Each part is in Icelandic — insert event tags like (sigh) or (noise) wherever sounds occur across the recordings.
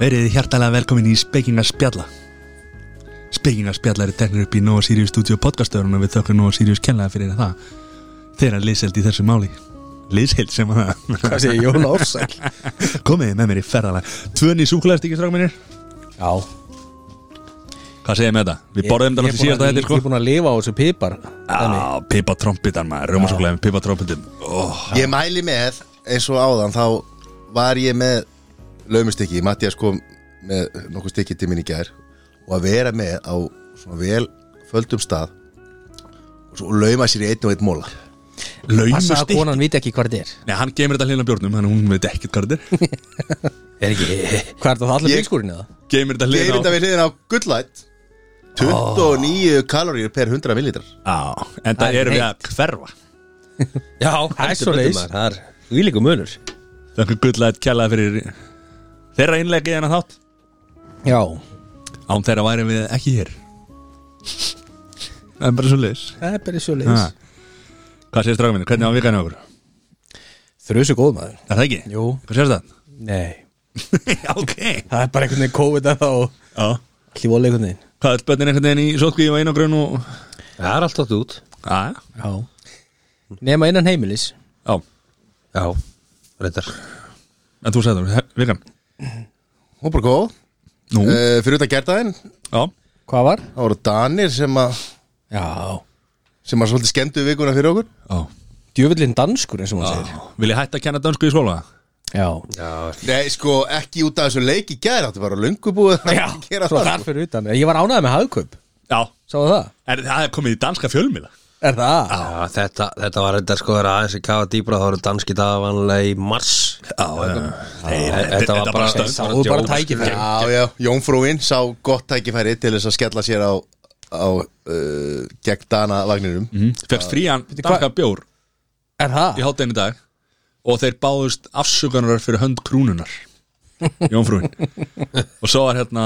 Verið hjartalega velkomin í Spekinga Spjalla Spekinga Spjalla eru teknir upp í Nova Sirius Studio podcastöðunum og við þökkum Nova Sirius kennlega fyrir það þeirra liðseld í þessu máli liðseld sem að Hvað sé ég, Jón Ársæl? komiði með mér í ferðalag Tvöni súkulæðstíkis rákum minnir Já Hvað segir með þetta? Við borðum þetta náttúrulega síðast að þetta Ég er sko búin að lifa á þessu pipar Á, pipa trombitan maður, rjómasúkulæði með pipa trombitum Ég mæli með, eins og áðan þá var ég með laumustykki, Mattias kom með nokkuð stykki til minn í gær og að vera með á svona vel földum stað og svo lauma sér í einn og einn móla Passa að Laumustykki? konan viti ekki hvað þetta er Nei, hann geymir þetta hlýna bjórnum, þannig að hún veit ekkert hvað þetta er Er (laughs) ekki Hvað er það allir Ég- bílskúrin eða? Geymir þetta Ég er þetta hlýna við hliðin á gullætt 29 kaloríur per 100 millilitrar á En það Það er erum við hreint. að hverfa Já, það er svo leis Það er výlíku munur Þakku gullætt kjallaði fyrir þeirra innleggi en að þátt Já, Án þeirra væri við ekki hér Það er bara svo leis það er bara svo leis Hvað sést dragum minni? Hvernig á vikan hjá okkur? Þrjusu góð maður Er það ekki? Jú. Hvað sést það? Nei Já, ok Það er bara einhvern veginn COVID að þá Já. Allir vola einhvern veginn Hvað er bönnin einhvern veginn í sótkvíu og einagrun og Það er alltaf út Já, Já Nema innan heimilis já Já, reyndar En þú sagði það, vikan Hún bara góð Nú, uh, Fyrir utan gerðaðinn, já Hvað var? það voru Danir sem að Já sem að svolítið skemmtu vikuna fyrir okkur Já Djöfullin danskur eins og hún segir Vil ég hætta að kenna dansku í skóla? Já Já, Nei, sko, ekki út af þessu leik í gær Þetta var á löngu búið að Já, gera svo það, þar fyrir utan Ég var ánægð með hagkaup Já Sáðu það? Er það er komið í danska fjölmila? Er það? já þetta, þetta var reyndar sko þegar aðeins að kafa dýbra þá eru danski dagar vanlega í mars Já, já Þetta var bara stönd Sáðu bara djók. tækifæri. Já, já, Jónfrúin sá gott tækifæri til þess að skella sér á, á uh, gegn Dana (laughs) vagninum Fekst Mhm. frían danska bjór Er það? í háttegin í dag og þeir báðust afsökunar fyrir hönd krúnunar (laughs) Jónfrúin og svo er hérna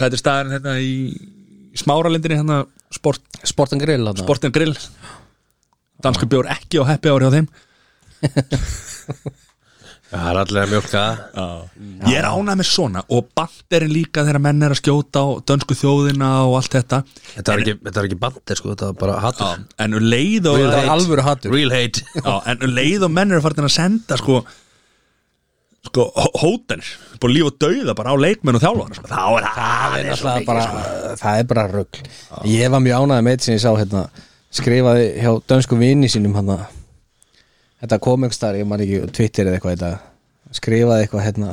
hvað er staðurinn hérna í smáralindinni hérna sport, Sportan grill hann sportin grill dansku bjór ekki og happy hour hjá þeim Það er allir að mjölka ég er ánað með svona og banderinn líka þegar menn er að skjóta á dönsku þjóðina og allt þetta Þetta var ekki, þetta var ekki bandir sko, þetta var bara Já, hattur en um leið og Það var alvöru hattur Real hate Já, en um leið og menn eru farin að senda sko sko hótenir, bara líf og dauða bara á leikmenn og þjálfara sko. þá er það er svo Það er mikið, bara, sko. það er bara rugg Ég var mjög ánægð með eitt sem ég sá hérna, skrifaði hjá dönsku vini sínum hann Þetta kom einhvers þar, ég man ekki Twitter eða eitthvað þetta skrifaði eitthvað hérna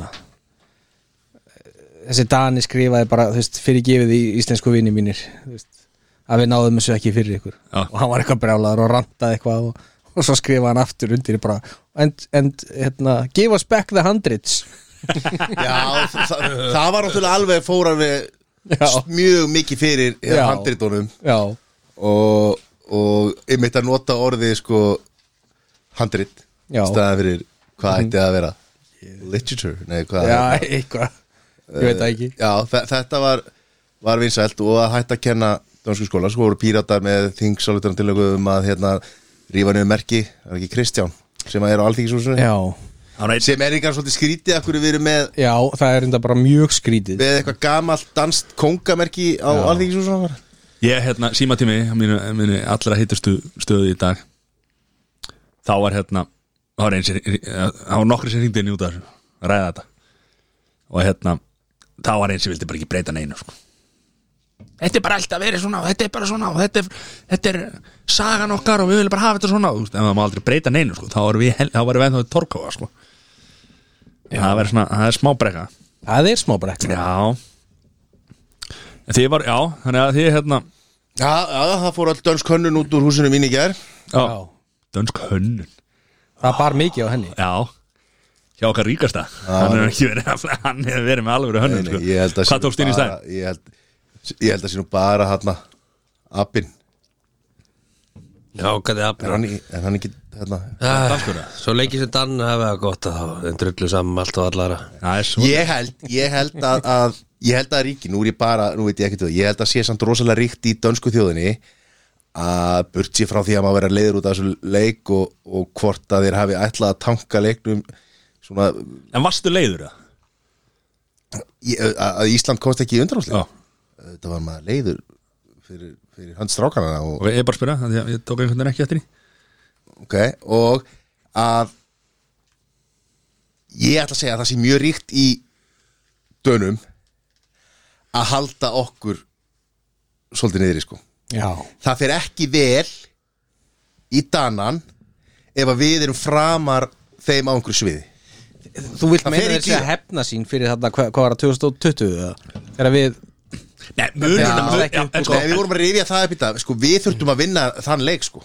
þessi Dani skrifaði bara þú veist, fyrirgefið í íslensku vini mínir þú veist, að við náðum þessu ekki fyrir ykkur Já. og hann var eitthvað brjálaður og rantaði eitthvað og, og svo skrifaði hann aftur undir bara, and, and hérna, give us back the hundreds Já, það, (laughs) það var náttúrulega alveg fór alveg Já. mjög mikið fyrir eh, Já. handritunum Já, og, og ég meitt að nota orðið sko handrit Já. Mhm. staðan fyrir hvað ætti að vera literature, nei hvað Já, eitthvað Ég veit það ekki Já, þe- þetta var, var vinsælt og að hætta að kenna dönsku skóla, sko voru píratar með þingsálutunum tilögum að hérna rífa niður merki, það er ekki Kristján sem að er á alþingisúsinu, Já, Þá er einn- sem er einhvern svolítið skrítið að hverju við erum með, já það er enda bara mjög skrítið með eitthvað gamalt danst kongamerki á alþingisúsinu bara. ég hérna, símatími á mínu, mínu allra hittustu stöðu í dag þá var hérna þá var, eins, þá var nokkri sem hringdi inn í út af þessu að ræða þetta og hérna, þá var eins sem vildi bara ekki breyta neinu sko. þetta er bara alltaf verið svona og þetta er bara svona og þetta er, þetta er sagan okkar og við viljum bara hafa þetta svona Þú veist, en það má aldrei breyta neinu sko. þá erum við, hel- þá erum við ennþá í torkáa sko. það, verður svona, það er smá brekka Það er smá brekk já En þið var, já, þannig að þið hérna Já, já, það fór all dönsk hönnun út úr húsinu mín í gær já, Já. dönsk hönnun Það bar mikið á henni Já Hjá okkar ríkasta Hann hefur ekki verið að- Hann hefur verið með alveg hönnun sko. Nei, ég held að sé Hvað nú tókst inn í bara- stæð? Ég held, ég held að sé nú bara hérna appin, Já, hvað er er apur hann, ekki- er hann ekki hérna, Ah, Svo leikið sem Dan hafa það gott að þá þeir drullu saman allt og allara Það er svo ég held, ég held að, að ég held að ríki, nú er ég bara, nú veit ég ekkert um það ég held að sé samt rosalega ríkt í dönsku þjóðinni að burt sér frá því að maður vera leiður út af þessu leik og, og hvort að þeir hafi ætlað að tanka leiknum svona, En varstu leiður það? í- að að Ísland komst ekki Já, í undanúsleik og þetta var maður leiður fyrir, fyrir hans strákana og, ég er bara að spyrja, af því að ég tók einhvern veginn ekki eftir í ok, og að ég ætla að segja að það sé mjög ríkt í dönum að halda okkur svolítið niðri sko já, það fer ekki vel í danan ef að við erum framar þeim á einhverju sviði þú vilt Það meina fer í þessi að gír. hefna sín fyrir þarna, hvað, hvað var það 2020 eða? þegar við, Nei, munurinn Já, að- það er ekki já, en sko, sko, Nei, við vorum að rifja það upp í dag sko, Við þurftum að vinna þann leik sko.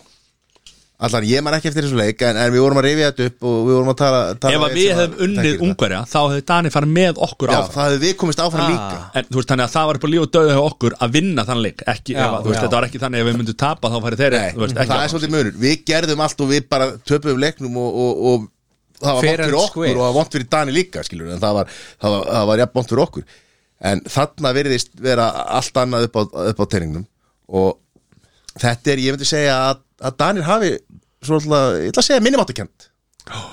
Allan, ég man ekki eftir þessu leik en, en við vorum að rifja þetta upp og við vorum að tala, tala Ef við að einn við sem hefum að- unnið þekkir þetta. ungverja þá hefði Dani farið með okkur Já, á það hefði við komist áfram Ah. líka En þú veist, þannig að það var upp á líf og döðu hjá okkur að vinna þann leik ekki, Já, ef, að- þú veist, já. þetta var ekki þannig ef við myndum tapa þá farið þeirri, Nei, þú veist, Mhm. það ekki er svolítið munur Við gerðum allt og við bara töpuðum leiknum og, og, og það var Fair vont fyrir and okkur square. og það var vont fyrir Dani líka skilur, en það var, það var, það var jafn vont fyrir okkur en þarna verðist vera allt annað upp á, upp á teiningnum og þetta er, ég myndi segja að, að Danir hafi svona, ég ætla að segja minimáttakent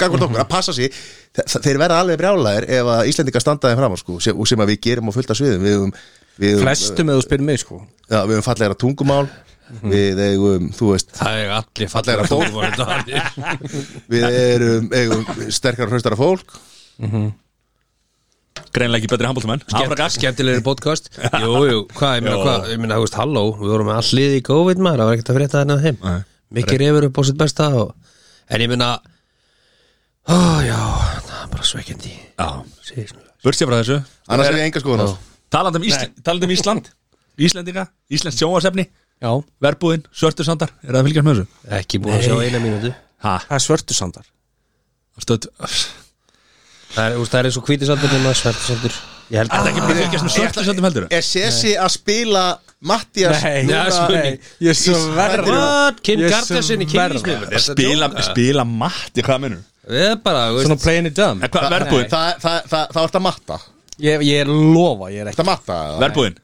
gangvart okkur, að passa sig Þe- þeir verða alveg brjálæðir ef að Íslendinga standaði fram sko, sem, og sem að við gerum á fullt af sviðum við um, við um, flestum eða þú spyrir mig sko já, við um fallegra tungumál við eigum, þú veist Það er allir Fallegra fallegra fólk. fólk (laughs) Við erum, eigum sterkara hlustara fólk greinlega ekki betri handbóltumenn Áfra gagn Skemmtilegri (laughs) podcast Jú, jú, hvað, ég meina Já. hvað Ég meina, þú veist, halló, við vorum með all liði í COVID maður Það var ekkert að frétta þennan heim Nei. Mikið reyfur upp á sitt besta og... En ég meina Ó, já, það er bara svekkjandi Já, Segir svona. burtsið frá þessu Annars er ég enga skoðun á Talandi um, Ísl talandi um Ísland Íslendinga, Íslands sjónvarsefni já, Verbúðin, Svörtursandar, er það að fylgjast með þessu? Ekki búin að sjá eina mínútu Ha, það er svörtusandar stöð Það er, úst, það er eins og hvítisandur nema svertisandur Ég Er held það að ekki bara að fylgjast með Svörtursandum heldur? Er Sessi að spila Mattias já, sko, nei. ég er svo verður What? Kim Ég er Kardashian í svo kynlífsmiðlum Er þetta Spila, djóka? spila matti, hvað minnur? Við bara, þú veist svona playing it dumb En hvað, verbúðin? Það er þetta matta ég, ég lofa, ég er ekki Þetta matta eða? Verbúðin?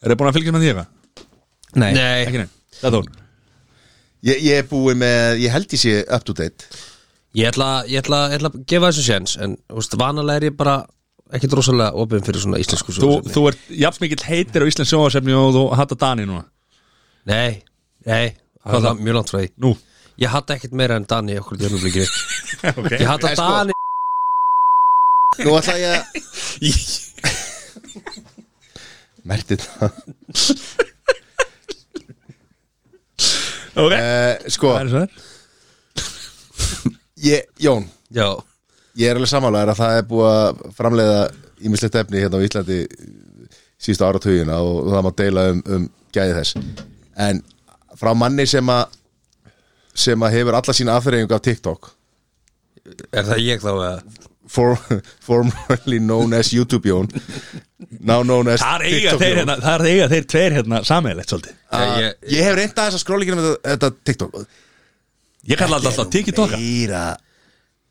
Er það búin að fylgjast með því eitthvað? nei, Nei, Ekki neinn, það þó Ég ég er búið með, ég held ég sé up to date Ég ætla, ég ætla, ég ætla að gefa þessu séns En úst, vanalega er ég bara ekkert rosalega opinn fyrir svona Þú, íslensku sjónvarpsefni. þú ert jafn mikill heitir á Íslands sjónvarsefni og þú hattar Dani núna Nei, nei, það er Hvað langt- mjög langt frá því (laughs) Nú Ég hatt ekkert meira en Dani okkur í djörnublíki (laughs) Ég hatt Nei, að sko. Dani Nú ætla ég að (laughs) Merti það Ok Eh, Sko, Það er svo þær ég, Jón Já, Ég er alveg samanlegar að það er búið að framleiða ímislegt efni hérna á Íslandi síðustu áratugina og það má deila um, um gæði þess en frá manni sem að sem að hefur alla sína afþreyingu af TikTok er það ég þá eða? for, (laughs) formerly known as YouTube Jón now known as Það er eiga TikTok þeir Jón hérna Það er eiga þeir tveir hérna sameiglegt svolítið Að Ég- ég hef reynda þess að skróla ekki um þetta, þetta TikTok Ég kalla alltaf alltaf tiki tóka meira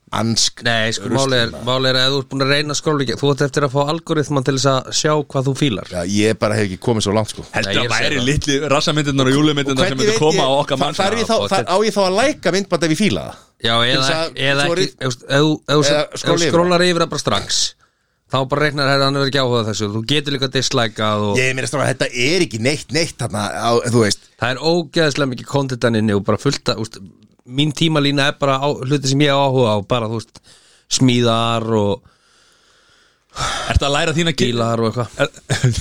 ansk Nei, sko, máli er, máli er að þú ert búin að reyna skóla Þú ert eftir að fá algoritman til þess að sjá hvað þú fílar Já, ég bara hef ekki komið svo langt sko Heldur Nei, að ég er að segja væri það. litli rassamyndirnar og júlimyndirnar sem Hvernig myndi veit koma á ég- okkar þar- mann sko, þar er ég þá- þar- á ég þá að læka myndband ef ég fíla það Já, eða, þess að- eða svo er ekki ég- Ef þú- ef Eða þú scrolla yfir. skrólar yfir það bara strax Þá bara reiknar hérna hann verður ekki áhuga á þessu Þú getur líka dislikað og Ég meina stráð að þetta er ekki neitt, neitt þarna, á, þú veist Það er ógeðslega mikið kontentanninni og bara fullta, úst, mín tímalína er bara á, hluti sem ég á áhuga á, bara þú veist, smíðar og Ertu að læra þína gil bílar og eitthvað.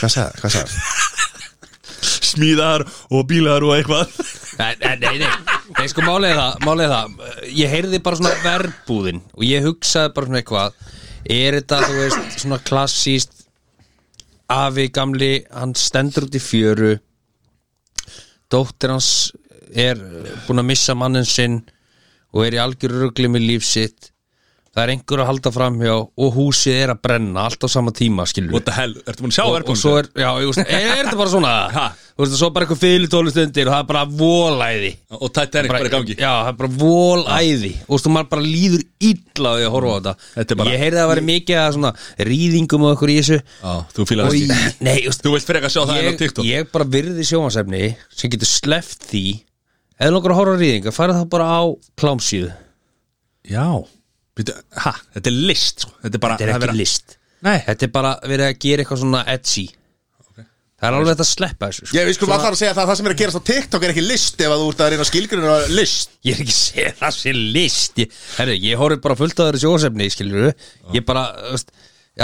Hvað sagði, hvað sagði? Smíðar og bílar og eitthvað Nei, nei, nei, nei, nei sko málið er það, málið er það, ég heyrði bara svona verbúðin og ég hugsaði bara svona eitthvað, er þetta, þú veist, svona klassíst, afi gamli, hann stendur út í fjöru, dóttir hans er búin að missa mannin sinn og er í algjör rugli með líf sitt, það er einhver að halda framhjá og húsið er að brenna allt á sama tíma, skilur What the hell, ertu búin að sjá og, og verbúðin? svo er, já, ég veist, er er þetta bara svona (laughs) Ha? þú veist, og svo bara eitthvað fyrirtólust undir og það er bara volæði Og Titanic bara í gangi já, það er bara volæði og þú veist, og maður bara líður illa á því að horfa á Þetta er þetta bara- ég heyrði að það væri mikið að svona rýðingum og okkur í þessu Já, þú fílar og það í, ekki (laughs) nei, þú veist, Þú vilt frekar sjá það en á ég, TikTok ég bara virði sjómasefni sem getur sleppt því eða nokkur að horfa á rýðinga, fara það bara á klámsíðu, Já Býtu, ha, þetta er list sko. Þetta er bara þetta er að ekki vera- list Nei. Þetta er bara verið að gera eitthvað svona edgy Það er alveg þetta að sleppa þessu sko. Ég við skulum alltaf að segja það að það sem er að gerast á TikTok er ekki list ef að þú ert að reyna skilgrunna list Ég er ekki að segja það sé list ég, herri, ég horfði bara fullt að þessu ósefni skilur Ég bara, þú veist,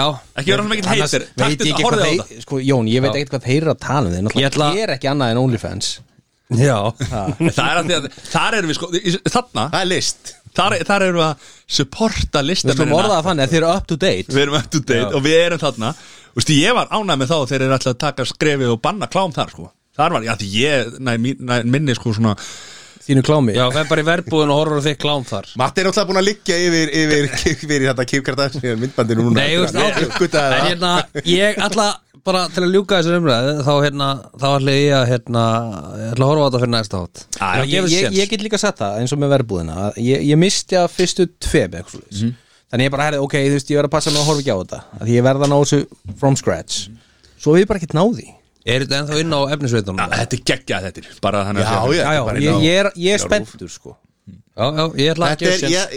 já Ekki vera svona mikill Annars hater. veit Taktu ég þetta, ekki horfðu á hvað þeir- þetta. Sko, Jón, ég veit ekkert hvað þeir eru að tala um þið Ég Náttúrulega, ætla- ég er ekki annað en OnlyFans Já, Það er að því að Þar erum við sko í- Þarna Það er list Þar, þar erum við að supporta Við slum orða listamennina það þannig að þið eru up to date Við erum up to date og við erum þarna Þú veist, ég var ánægð með þá þegar þeir eru alltaf að taka skrefið og banna klám þar sko Þar var, já því ég næ, mín- næ, minni sko svona Þínu klámi já, það er bara í verbúðin og horfður á þig klám þar Matti er náttúrulega búin að liggja yfir (laughs) yfir, yfir þetta Kim Kardashian myndbandinu núna Nei, þú veist, Ég uppgötvaði en það. hérna, ég ætla bara til að ljúka þessu umræðu þá hérna, þá ætla ég að hérna, ég ætla að horfa á þetta fyrir næsta hátt Já, ég, ég, ég get líka sagt það eins og með verbúðina að ég, ég misti að fyrstu tveim mm -hmm. þannig ég bara herði ok, þú veist ég verð að passa mig að horfa ekki á þetta að því ég verð að ná þessu from scratch svo hef ég bara ekkert náði Er þetta ennþá inn á efnisveitunum? að, Þetta er geggjað þetta er, bara þannig Já, að já, já, já, bara ég, ná- ég er, ég er spenntur sko Já, já, ég ætla að Þetta gefa er, sér ég,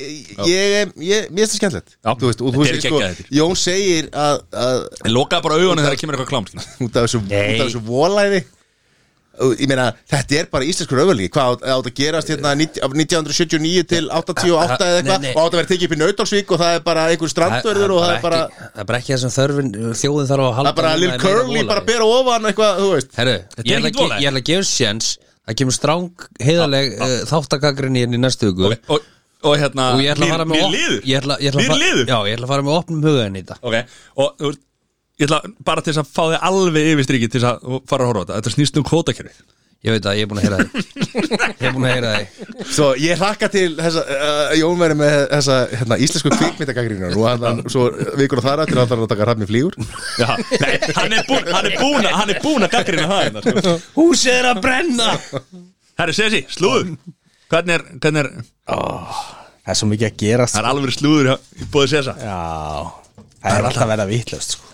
ég, ég, mér finnst það skemmtilegt Já. Þú veist, og þú Þetta er veist, sko, geggjað, þetta er. Jón segir að, að En lokaði bara augunum þegar kemur eitthvað klám sko. skilur. út af þessu, út af þessu volæði og ég meina, þetta er bara íslenskur öfurlíki, hvað á- átt að gerast hérna 90 af 1979 til 88 eða eitthvað Nei, nei. og átt að vera tekið upp í Nautalsvík og það er bara einhver strandverður og það er bara ekki, Það er bara ekki það sem þörfin, þjóðin þarf að það halda er bara Lil núna í meira Curly volæði. bara bera ofan eitthvað, þú veist Herru, Þetta er ég ætla ekkit að ge- volæði. ég ætla að gefa sér séns Það kemur stráng, heiðaleg uh, þáttakakrinni inn í næstu hugu Ah, Ok, og, og hérna Og ég ætla að mér- fara með mér op- liður. ég ætla- ég ætla að Mér fara- liður. Já, ég ætla að fara með opnum hugaðin í þetta Ok, og þú veist, ég ætla bara til þess að fá þig alveg yfir strikið til þess að þú fara að horfa á þetta Þetta snýst um kvótakerfið Ég veit að ég er búin að heyra (laughs) þig Ég er búin að heyra þig Svo ég hlakka til þessa, uh, Jón verið með þessa hérna, íslensku kvikmyndagagrinar og hann, svo vikur og þar eftir hann þarf að taka rafni flýgur Já, nei, hann er búinn hann er búinn að- hann er búinn að gaggrina það hérna, sko. Húsið er að brenna Herri, Sessi, slúður Hvernig er, hvernig er, það er svo mikið að gerast það sko. er alveg slúður hjá- í bóði Sessa já, það er alltaf að verða vittlust sko.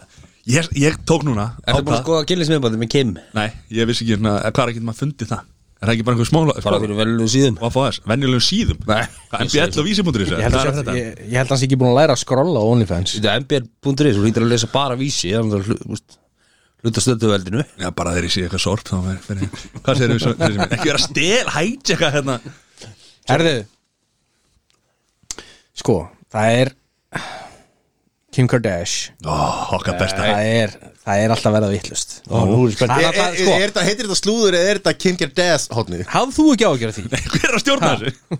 ég, ég tók núna Ertu búin að ákvað- skoða gillismiðbandi með Kim? Nei, ég vissi ekki hérna hvað er ekki maður fundið það Er það ekki bara einhver sko, smála Bara fyrir velunum síðum Og að fá þess, venjulegum síðum Nei. Hvað, MBL og vísimundur ég held er að sé- þetta ég- ég held að hans ekki búin að læra að skrolla á OnlyFans Þetta er mbr.is, þú lítur að lesa bara vísi þannig að hlu- úst, hluta stöðuveldinu Já, bara þegar ég sé eitthvað sorp þá fer- fer ég- Hvað segir við svo, þessi mér? Ekki vera stel, hætja eitthvað hérna herðu sko, það er Kim Kardashian Ó, okkar besta það er, það er alltaf að verða vittlust það er (laughs) Er, alltaf, er, sko, er, þetta- heitir þetta slúður eða er þetta Kim Kardashian hotnið? hafðu þú ekki á að gera því Hver er að stjórna þessu?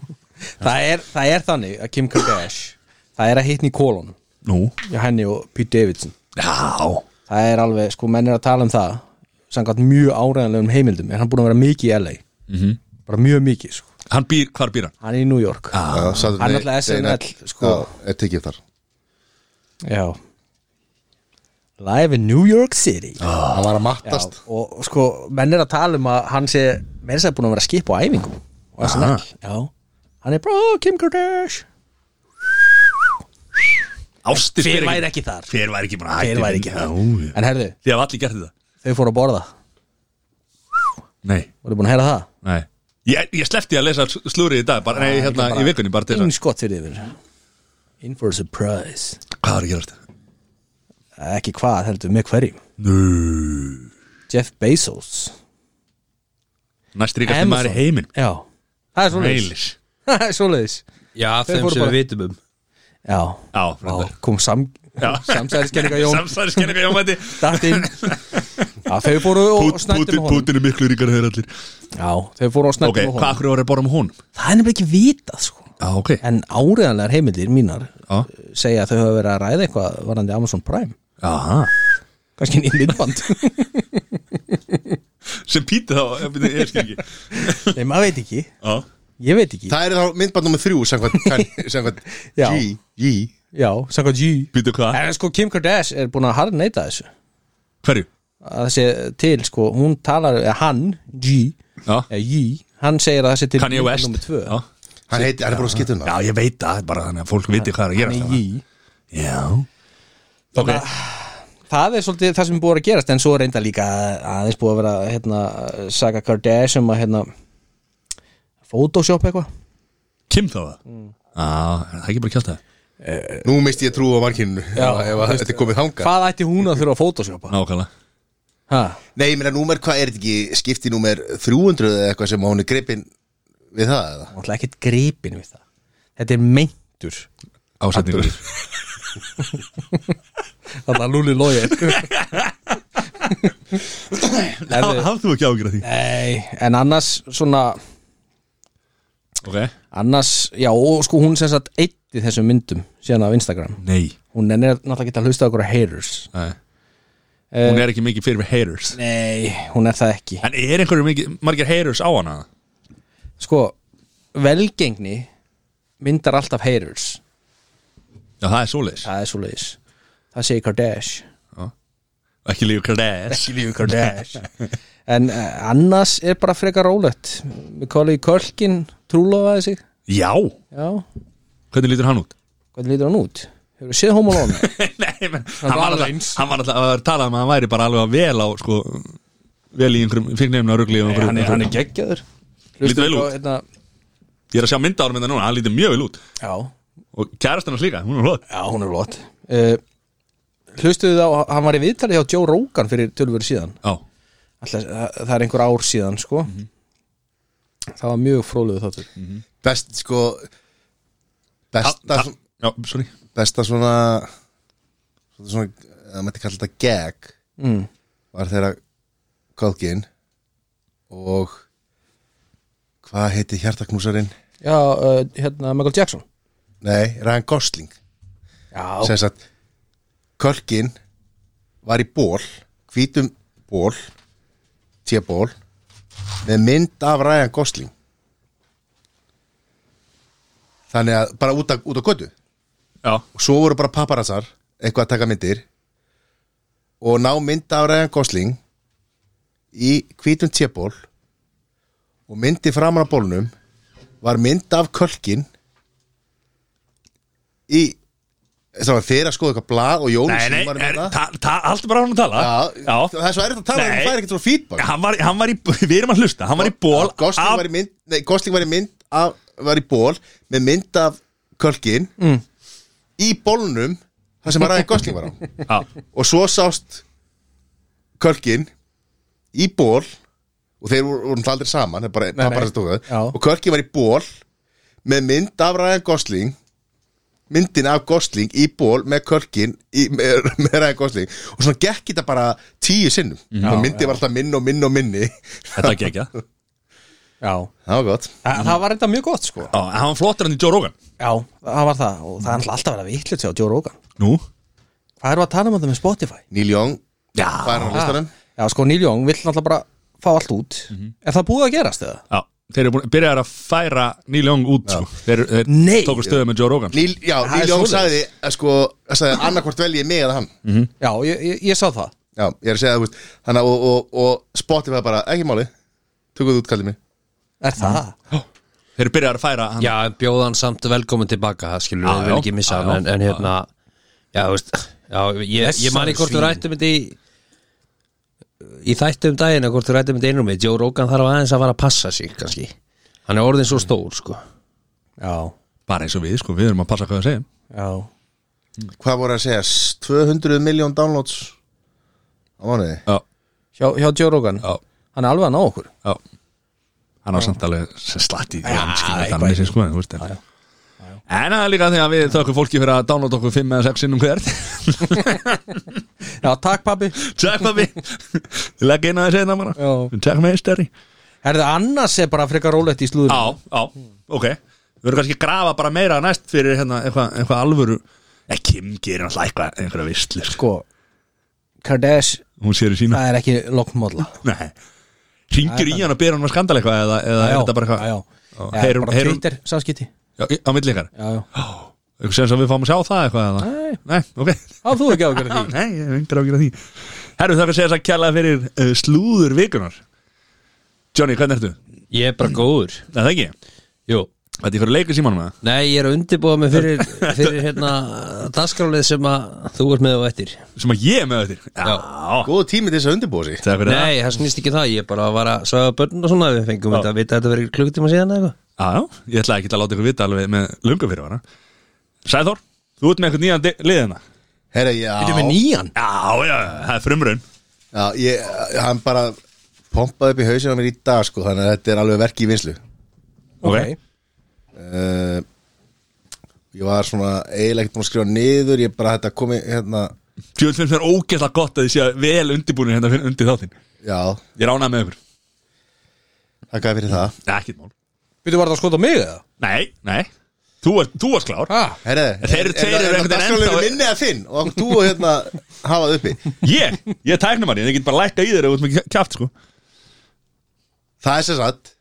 það er, það er þannig að Kim Kardashian það er að hitni í kolon Nú, hjá henni og Pete Davidson já það er alveg, sko, menn er að tala um það samkvæmt mjög áræðanlegum heimildum er hann búin að vera mikið í LA Mhm. bara mjög mikið, sko, Hann býr, hvar býr hann? hann er í New York Ah. Já, Saturday Hann er náttúrulega Day Night- SNL, sko. Já, er tekið þar já live in New York City já, Hann var að mattast og og sko, menn er að tala um að hann sé, menn er búin að vera að skipa á æfingum og það Aha. já, hann er bara, "Ó, Kim Kardashian Ástir Hver væri ekki þar? Hver væri ekki búin að Hver hætta væri ekki Já, það? já. En herðu, Þið hafa allir gert þetta þau fóru að borða Nei, Voru búin að heyra það? nei Ég, ég slefti að lesa slúrið í dag bara, Nei, hérna í vikunni bara til In þess skott fyrir yfir In for a surprise að Hvað er að gerast? Eh, Ekki hvað heldur, með hverjum Nú Jeff Bezos Næst ríkast maður í heiminn Já, það er Heilis svoleiðis (laughs) Það er svoleiðis Já, Þeir þeim fóru sem bara- við vitum um Já, Já, Vá, frændar kom sam (laughs) samsæðiskenninga Jón Samsæðiskenninga Jón mætti Datt (laughs) inn Já, þau fóru og snættum honum Pútin er miklu ríkar þeir allir Já, þau fóru og Ok, snættum hvað honum akkur voru að borða með honum? Eh. Það er nefnilega ekki vitað sko Já, ok En áriðanlegar heimildir mínar eh, Já. segja að þau hafa verið að ræða eitthvað varandi Amazon Prime Aha. Kannski inn í myndband (laughs) Sem píti þá, ég veit- ég skil ekki Nei, maður veit ekki Já, Ég veit ekki Það er þá myndband nummið þrjú (laughs) samkvæmt, kann- samkvæmt Já. G, G Já, samkvæmt G píti hvað? En sko Kim Kardashian er búin að harneita þessu Hverju? að það sé til sko, hún talar eða hann, G, Já, eða G hann segir að það sé til Kanye West Ah. nummer tvö Já. Hann heiti, hann er búin að skita um það Já, ég veit það, bara þannig að fólk viti hvað er að hann gera er G Já Ok, það er svolítið það sem er búið að gerast en svo er reynda líka aðeins búið að vera hérna, Saga Kardashian um að hérna Photoshop eitthvað Mm. Kim þá það? Já, er það ekki bara kjátt það Nú misti ég trú á markinu ef að þetta er komið þangað Hvað ætti hún að þurfa að photoshopa? nákvæmlega Ha? Nei, ég meina númer, hvað er þetta ekki skipti númer 300 eða eitthvað sem hún er gripin við það eða? Hún ætla ekkert gripin við það Þetta er meintur ásetningur Þetta er lúli (laughs) lógin hafðu þú ekki ágjur að því Nei, en annars svona ok, Annars, já, og sko hún sem sagt eitt í þessum myndum síðan af Instagram nei Hún er náttúrulega ekki að hlusta okkur að haters Nei. hún er ekki mikið fyrir við haters Nei, hún er það ekki en er einhverju mikið, margir haters á hana Sko, velgengni myndar alltaf haters já, það er svoleiðis Það er svo leiðis Það segir Kardash ekki líka kræs Lífi Kardash En uh, annars er bara frekar rólegt Við kallum í Kölkin trúlofaði sig (laughs) já, Já, hvernig lítur hann út? hvernig lítur hann út? Hefur séð Home Alone? (laughs) Nei, menn, var hann var alveg alltaf hann var alltaf að tala um að hann væri bara alveg vel á sko, vel í einhverjum fíknefna rugli og einhverjum- geggjaður Lítur vel Hlustaðu út. á, hérna, ég er að sjá mynda árum þetta hérna núna, hann lítur mjög vel út Já, og kærastan hans líka, hún er hlóð Já, hún er flott uh, Hlustuðu þá, hann var í viðtali hjá Joe Rogan fyrir tölvöru síðan já, Alltaf, það, það er einhver ár síðan, sko Mm. Það var mjög fróluðu þáttur Best, sko Besta, Ah, ah, já, sorry besta svona Svona, svona það mætti kalla þetta gag mm. var þeirra Kölkin og hvað heiti hjartaknúsarinn? Já, uh, hérna, Michael Jackson Nei, Ryan Gosling Já, sem sagt Kölkin var í ból hvítum ból tjaból með mynd af Ryan Gosling þannig að bara út á, út á götu já, og svo voru bara paparazzar eitthvað að taka myndir og ná mynd af Ryan Gosling í hvítum tjaból og myndi framan á bólnum var mynd af Kölkin í það var þeir að skoða eitthvað blað og Jóni nei, nei, var er, með það ta, ta, haldur bara hann að tala Já, það er svo erfitt að tala um Nei. það er ekkert svona feedback hann var, hann var í, (laughs) við erum að hlusta hann var í ból Gosling var í mynd, nei, Gosling var í mynd af, var í ból með mynd af kölkin mm. í bólnum það sem að ræði Gosling var á já, og svo sást kölkin í ból og þeir voru, voru aldrei saman það er bara, nei, nei. bara tóka, Já. og kölkin var í ból með mynd af Ryan Gosling myndin af Gosling í ból með kölkin í, með, (laughs) með Ryan Gosling og svona gekk þetta bara tíu sinnum og myndi var alltaf minn og minn og minni (laughs) þetta er geggjað já, já það var gott Þa, Það var þetta mjög gott, sko hann var flottur hann í Joe Rogan Já, það var það og það er alltaf að vera vitlut hjá Joe Rogan nú, Hvað eru að tala um þetta með Spotify? Neil Young, já, hvað er hann á listanum? Já, sko, Neil Young vill náttúrulega bara fá allt út Er það búið að gerast eða? já þeir eru búin, byrjaðar að færa Neil Young út sko. þeir, þeir Nei. tóku stöðu með Joe Rogan Neil, já, er Neil Young svoleiðis. sagði að sko, að sagði annarkvort velji mig eða hann Já, ég, ég, ég sá það Já, ég er að segja það, þú veist, þannig að og, og, og Spotify bara, ekki máli Tökum þú út kallið mig Er það? þeir eru byrjaðar að færa hann Já, en bjóða hann samt velkomin tilbaka það skilur Já, við, við já, ekki missa já, hann en, já, en hérna, já, þú veist já, ég, ég man ekki hvort þú rættum þetta í í þættum um daginn eða hvort þú rættum þetta einrúmi, Joe Rogan þarf aðeins að fara að passa sig kannski, hann er orðin svo stór sko, Já, bara eins og við, sko, við erum að passa hvað við segjum já Hvað voru að segja, S- 200 miljón downloads á mánuði já, Hjá, hjá Joe Rogan já, Hann er alveg að ná okkur já hann var samt alveg sem slatt í því hann skilur eitthvað. þetta með sér sko en þú veist, en- en það er líka því að við þökkum fólki fyrir að downloada okkur 5 eða 6 sinnum hvert (laughs) Já, takk pabbi Takk pabbi Ég legg inn að þið segna bara Já. Takk með stærri Herðu, annars er bara frekar rólegt í slúður Já, já, ok Við verðum kannski að grafa bara meira næst fyrir hérna eitthvað eitthva alvöru Nei, Kim gerir alltaf eitthvað einhverja vistlu Sko, Kardash, Hún sér í sína það er ekki lokmódla Nei Hringir í hann og byrja hann að skandal eitthvað eða, eða er þetta bara eitthvað Já, já Já, Já, heyrum- Bara heyrum- Twitter, samskipti Já, í- á milli ykkar Já, já Eitthvað sem sem við fáum að sjá það eitthvað eða Nei. Nei ok Á, þú ekki ágjörði því (laughs) Nei, ég hef engar ágjur að því Herru, það er að segja þess að kjalla fyrir uh, slúður vikunar Johnny, hvernig ertu? ég er bara góður Nei, það ekki jú, Þetta er fyrir leikur símanum eða? nei, ég er að undirbúa mig fyrir, fyrir hérna, dasgrálið sem að þú ert með og eftir Sem að ég er með þetta Já, Góðu tími til þess að undirbúa sig það er fyrir það nei, það snýst ekki um það, ég er bara að vara að svaga börn og svona, við fengum þetta að vita að þetta verið klukkutíma síðan eða eitthvað Já, já, ég ætla ekki að láta ykkur vita alveg með lunga fyrir hana Sæðor, Þú ert með eitthvað hérna? nýjan di- liðina Herra, já Þetta með nýjan Já, já, það er frumraun Já, ég, hann bara pompaði upp í hausinu á mér í dag sko, þannig að þetta er alveg verk í vinslu Ok. uh, Ég var svona eiginlega ekkert búin að skrifa niður ég bara þetta komi hérna Fjöld finnst mér ógeðslega gott að þið séu vel undirbúinu hérna fyrir- undir þáttinn Já, Ég ránaði með ykkur þakkaði fyrir það Nei, ekkert mál Býttu var það að skota á mig eða? Nei, nei Þú varst, þú varst klár Ha? Herra, Þeir eru- þeir eru er einhvern það veginn dagskrálegu ennþá- minni að þinn og þú og hérna hafað uppi Ég, ég er tæknumari Ég get bara lækka í þeirra út með kjátt sko Það er sér satt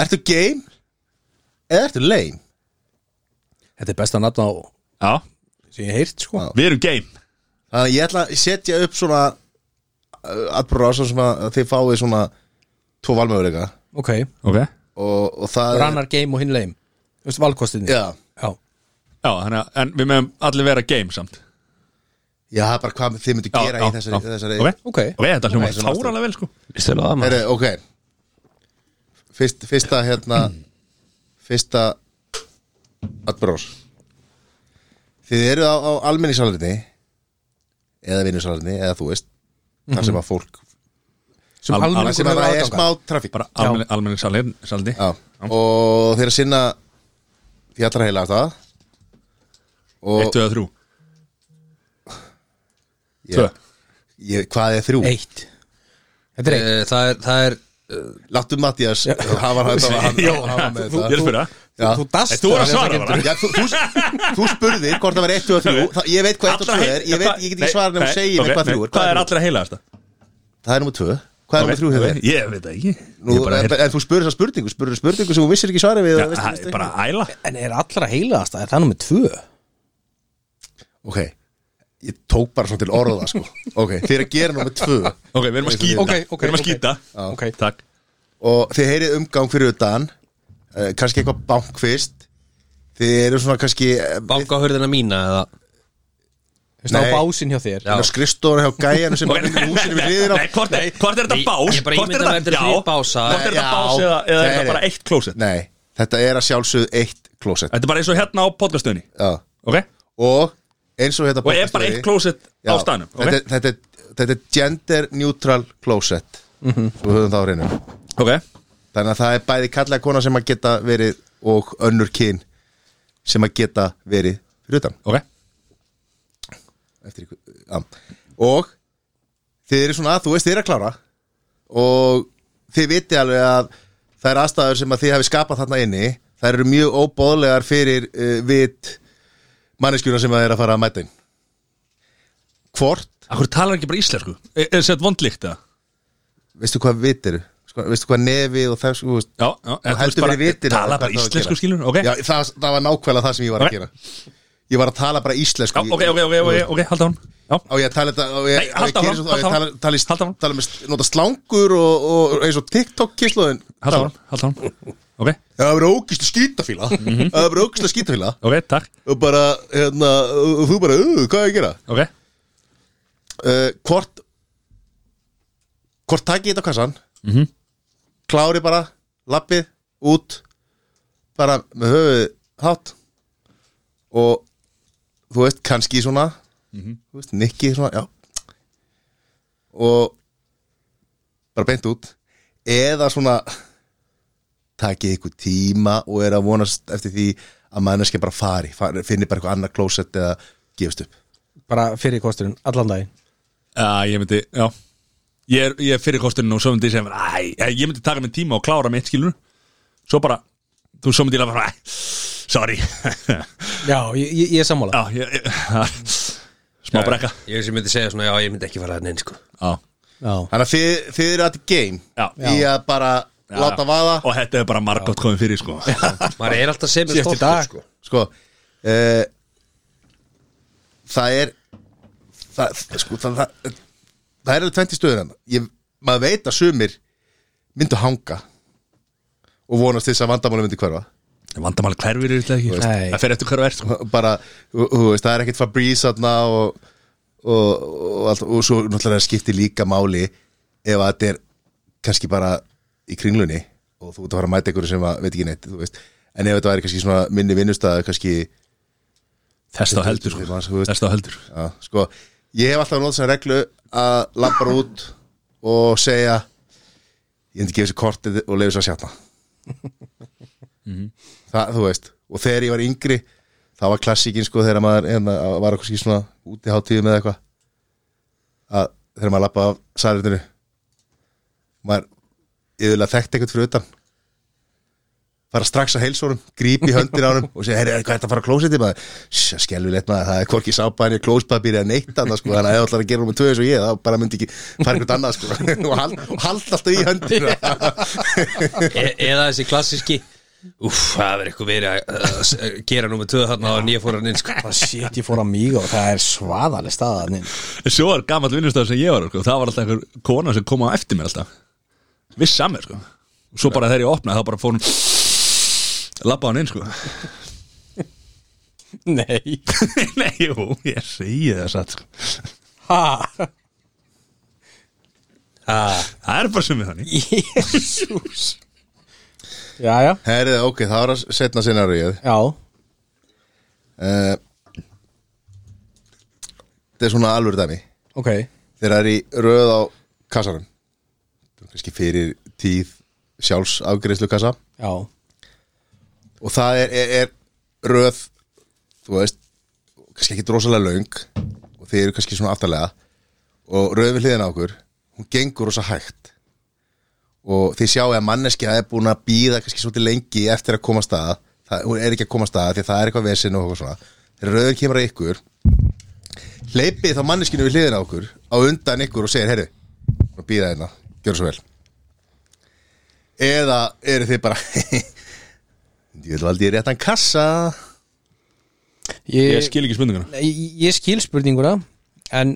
Ertu game eða ertu lame? Þetta er besta nafn á Já, sem ég heirt sko við erum game Þannig að ég ætla að setja upp svona atbúrra ásum sem að þið fáið svona tvo valmöðuleika Ok Ok Já, og, og það er- Rannar game og hinn leim Þú veist valkostinni Já, Já þannig að en við meðum allir vera game samt já, það er bara hvað þið myndu Já, gera í þessari, þessari Ok, Ok ok, þetta hljóma svona ástæður. sáralega vel sko Stölu að Heru, ok Fyrst, Fyrsta hérna Fyrsta Atbrós Þið eru á, á almenningssalarni eða vinnusalarni eða þú veist þar Mhm. sem að fólk Sem Al- almenningur þar sem að hefur það er aðgang smá að. trafík Bara almenni, almenni saldi, saldi. Já. og þeir að sinna því allra heila það og Eitt, tvö, þrjú Tvö ég, ég, hvað er þrjú? Eitt Þetta er eitt Það er, það er Láttu Mattias hafa hann (laughs) hann- hafa með Þú- Ég er að þetta spyrja Já. Þú dast Þú voru að svara bara Já, þú, þú, þú spurðir hvort það var 1 og 3 það, Ég veit hvað 1 og Allra 2 heil- er Ég, veit, ég get ekki svarað nefnum Nei, að segja ok, okay, hvað nei, 3 er Hvað er allra heilaðasta? Það er nummer 2 Hvað er nummer 3 hefur verið? Ég veit það ekki Nú, Ég bara en, en þú spurðir það spurningu Spurðir spurningu sem þú vissir ekki svarið við Já, eða veist- það veist er ekki. bara æla En er allra heilaðast Er það nummið tvö? Ok, ég tók bara svona til orða sko. Ok, þið er að gera nummer 2 Ok, við erum að skýta Ok, ok, Við erum að ok. skýta Ok Takk Og þið heyrið umgang fyrir utan uh, Kannski eitthvað bank fyrst Þið eru svona kannski eh, bankahörðina mína eða Þú veist á Nei. básin hjá þér Skrifstofur hjá gæjanum sem er í húsinu (laughs) við hliðina Nei, hvort er hvort er þetta Nei, bás? ég bara Hvort ímynda mér þetta Já. er þrír básar. Hvort er þetta Já. bás eða eða er Nei, þetta bara nei. eitt klósett? Nei, þetta er að sjálfsögð eitt klósett Þetta er bara eins og hérna á podcastunni Já. Ok? Og eins og þetta Og er bara eitt klósett á staðnum þetta, Ok? er- þetta, er- þetta er gender neutral closet mm Mhm. -hmm. Svo höfum það á reynu Ok? Þannig að það er bæði kallega kona sem að geta verið Og önnur kyn Sem að geta verið fyrir utan Ok? Eftir, ykkur- já. Og Þið eru svona að þú veist þið eru að klára Og þið viti alveg að Það er aðstæður sem að þið hafi skapað þarna inni Það eru mjög óbóðlegar fyrir uh, Vit manneskjuna sem að er að fara að mæta inn Hvort Akkur talar ekki bara íslensku? Er er þetta vondlíkt eða? veistu hvað vit eru sko, veistu hvað nefi og það sko, Já, já en þú veist heldur bara- verið vitir Tala bara íslensku skilur Ok? já, það, það var nákvæmlega það sem ég var Ok. að gera ég var að tala bara Já, íslensku ok, ok, ok, ok, ok, halda hún Já, á ég að tala þetta á ég- Nei, á ég haltu að gera áfram, svo- á ég haltu að tala, áfram, tala, í- haltu áfram. tala með st- nota slangur og, og eins og TikTok kyslóðin halda hún, halda (laughs) hún Ok, það verður ógist að skýtafíla Mhm. það verður ógist að skýtafíla ok, takk og bara hérna og þú bara uh, hvað er ég að gera Ok, uh, hvort hvort takið þetta á kassan mm -hmm. klári bara lappið út bara með höfuð hátt og þú veist kannski svona þú veist nikki svona já og bara beint út eða svona takið ykkur tíma og er að vonast eftir því að manneskja bara fari, fari finnir bara eitthvað annað klósett eða gefst upp Bara fyrir kosturinn Allan daginn Já, ég myndi, já Ég er, ég er fyrir kosturinn og svo myndi ég segja mér, Æ, ég myndi taka mér tíma og klára mitt skilur Svo bara, þú svo myndi ég lafa bara, "Æ, Sorry (laughs) Já, Já, ég, ég, ég er sammála ég, (laughs) ég Smá brekka Ég sem myndi segja svona, já, ég myndi ekki fara hérna inn sko Já, Já Þannig að þið, þið eru alltaf game já í að bara Já. láta vaða Og þetta er bara margótt komið fyrir sko Maður er alltaf sem Síðasti dag. sko sko uh, það er það, sko, það, það, það er alveg tvent í stöðun ég, maður veit að sumir myndu hanga og vonast til þess að vandamáli myndi hverfa Vandamáli hverfir er þetta ekki Nei. Það fer eftir hverfa er sko bara, þú þú veist, það er ekkit Fabrice þarna og og, og, allt, og svo náttúrulega skiptir líka máli ef að þetta er kannski bara í kringlunni og þú ert að fara að mæta einhverju sem að, veit ekki neitt þú veist, en ef þetta væri kannski svona minni vinnustæða kannski Þess þá heldur Þú sko. veist, þú veist. Þess þá heldur Já, sko, ég hef alltaf nótt sem reglu að labba bara út og segja ég hefndi gefa sér kortið og leiði sér að sjatna það, þú veist og þegar ég var yngri, það var klassíkin sko, þegar maður hérna, var eitthvað skýr svona úti hátíðum eða eitthvað að þegar maður labbaði af særiðinu maður yfirlega þekkt eitthvað fyrir utan fara strax að heilsórum, gríp í höndir á hann og segja, herri, hvað er þetta að fara að klósa þetta maður? Skelvilegt maður, það er hvorki sápaðan í klóspapíri eða neitt annað, sko, þannig að ef þú ætlar að gera um tvö eins og ég, þá bara myndi ekki fara eitthvað annað, sko, (laughs) og hald, og hald alltaf í höndina e eða þessi klassíski Úff, það verður eitthvað verið að, að, að gera númer tvö þarna á nýja fóran inn sko. Shit, ég fór að míga og það er svaðaleg staðan Svo var gamall vinnustöð sem ég var sko. Það var alltaf einhver kona sem kom á eftir mér alltaf Viss samir sko. Svo bara þegar ég opnaði þá bara fór hún Labba hann inn sko Nei (laughs) Nei, jú, ég segi það satt sko. Ha, Það er bara sem við þannig jésús Jæja, Herri, ok, það var að setna sinna rauðið já uh, Þetta er svona alvöru dæmi Ok, þegar það er í röð á kassanum kannski fyrir tíð sjálfsafgreislu kassa já og það er, er, er röð þú veist, kannski ekki drosalega löng og þeir eru kannski svona aftarlega og röð við hliðina á okkur hún gengur rosa hægt og þið sjáu að manneskja er búin að býða kannski svolítið lengi eftir að koma staða það, hún er ekki að koma staða því að það er eitthvað vesinn og eitthvað svona þegar röður kemur að ykkur hleypið þá manneskinu við hliðina á okkur á undan ykkur og segir, herru býða hérna, gjör svo vel eða eru þið bara (laughs) Ég vil valdi í réttan kassa Ég, Ég skil ekki spurninguna Nei, ég, ég skil spurninguna En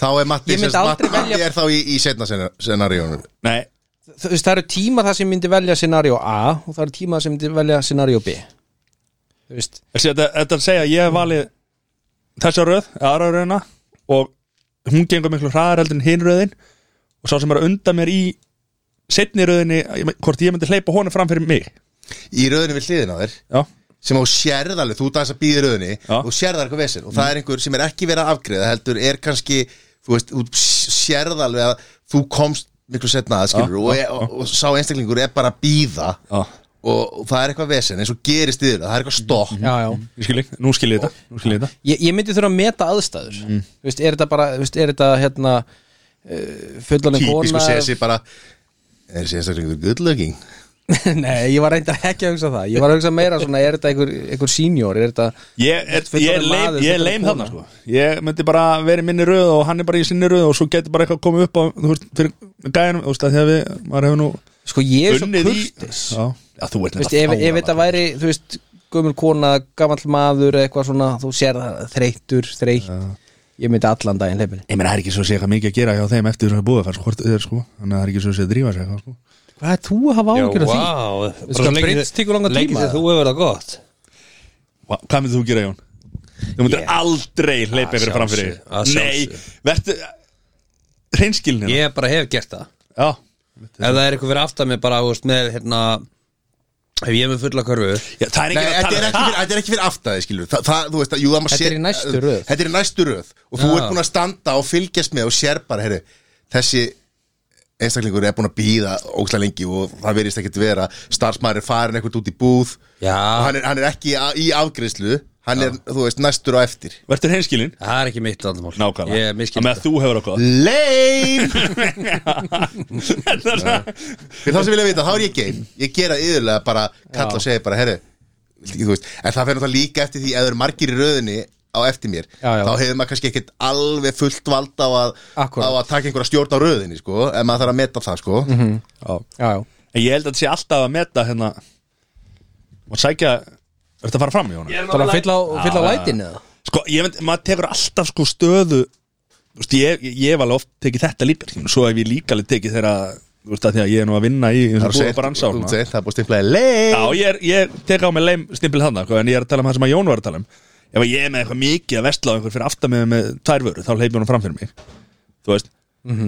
Þá er Matti Ég myndi sem sagt- aldrei Matti velja- er þá í, í setna scenaríunum Nei, þú veist, það eru tímar það sem myndi velja scenario A og það eru tímar sem myndi velja scenario B Þú veist, þessi, þetta, þetta að segja að ég hef valið þessa röð, aðra röðina og hún gengur miklu hraðar heldur en hinn röðin og sá sem er að undan mér í setni röðinni, ég me- hvort ég myndi hleypa honum fram fyrir mig Í röðinu við hliðin á þér Já, sem á sérðalið, þú dæs að býði röðinni Já. og sérðar eitthvað vesinn og það er einhver sem er ekki verið að afgreða heldur er kannski þú veist, þú sérðalið að þú komst miklu setna að skilur og, og, og, og sá einstaklingur er bara að býða Já. og, og það er eitthvað vesinn eins og gerist yfir það, það er eitthvað stokk já, já ég skil ekki, nú skil ég þetta, nú skil ég þetta. Ég, ég myndi þurfa að meta aðstæður Þú veist, er þetta bara, þú veist, er þetta hérna uh, fullanum típisku kona sessi bara er þessi einstaklingur good looking (laughs) Nei, ég var reyndar ekki að hugsa það Ég var að hugsa meira svona, er þetta einhver, einhver senior Er þetta, Ég, er, Fullorðin ég, leim, maður, ég fullorðin leim kona. þarna sko. Ég myndi bara verið minni röð og hann er bara í sinni röð og svo getur bara eitthvað komið upp á, þú veist, fyrir gæðinum, þú veist, að því að við, maður hefur nú sko, ég er svo unnið í kurtis Já, já þú veit Þú veist, ef, ef þetta væri, þú veist, gömul kona, gamall maður eða eitthvað svona, þú sér það þreyttur, þreytt Ég myndi allan daginn leipinni Ég meina, það er ekki svo að sé eitthvað mikið að gera hjá þeim eftir þess að búða fær skort öður sko Þannig að það er ekki svo að sé að drífa sig eitthvað sko Hvað er þú að hafa ágjör af því? wow. Sko, Brits tekur langan tíma, Leggir eða? þú hefur það gott Hva, Hvað myndir þú gera Jón? Þú myndir Ég- aldrei hleypa Að ykkur fram fyrir sjálfsögðu, að Nei, sjálfsögðu. verður Hreinskilnir Ég bara hef gert það Já, Ef það er eitthvað fyrir aftan mig bara þú veist, með hérna Ef ég er með fulla körfu Já, það er Nei, enginn að þetta er, tala um það. ekki fyrir, þetta er ekki fyrir aftæði, skilur Þa, það, Þú veist að, jú, það má Þetta er sér- í næstu röð. Þetta er í næstu röð Og þú Já. ert búin að standa og fylgjast með og sér bara, herri Þessi einstaklingur er búin að býða ógstlega lengi og það verðist ekkert vera starfsmæður er farin eitthvað út í búð og Já, hann er, hann er ekki a, í afgreyslu hann er, þú veist, næstur á eftir Verður hreinskilin það er ekki mitt landamál Nákvæmlega Ég er Það með miskinn að þú hefur okkur (laughs) Leim! (laughs) Þetta er svona- Fyrir þá sem vilja vita, þá er ég geim Ég gera yfirlega bara, kalla og segja bara, herri viltu ekki, þú veist, En það fer náttúrulega líka eftir því ef það eru margir í röðinni á eftir mér Já, já. þá hefur maður kannski ekkert alveg fullt vald á að, Akkúrat. Mhm. á að taka einhverja stjórn á röðinni sko, en maður þarf að meta það sko. mm -hmm. Já, já En Ég held að þetta sé alltaf að meta hérna Og sækja Er þetta að fara fram Jón? Það er að fylla á, fylla á Já, já, já. lætin eða? Sko, ég veit, maður tekur alltaf sko stöðu Þú veist, ég, ég hef alveg oft tekið þetta líka skilur. Svo hef ég líka alveg tekið þegar að- Þú veist, að því að ég er nú að vinna í það, er Það seint- þú veist, það er búið stimplaði leim Já, ég, er, ég tek á mig leim stimpil hann sko, En ég er að tala um það sem að Jón var að tala um Ef að ég er með eitthvað mikið að vestla á einhver fyrir aftan með með tvær vöru, þá hleypur hún fram fyrir mig Þú veist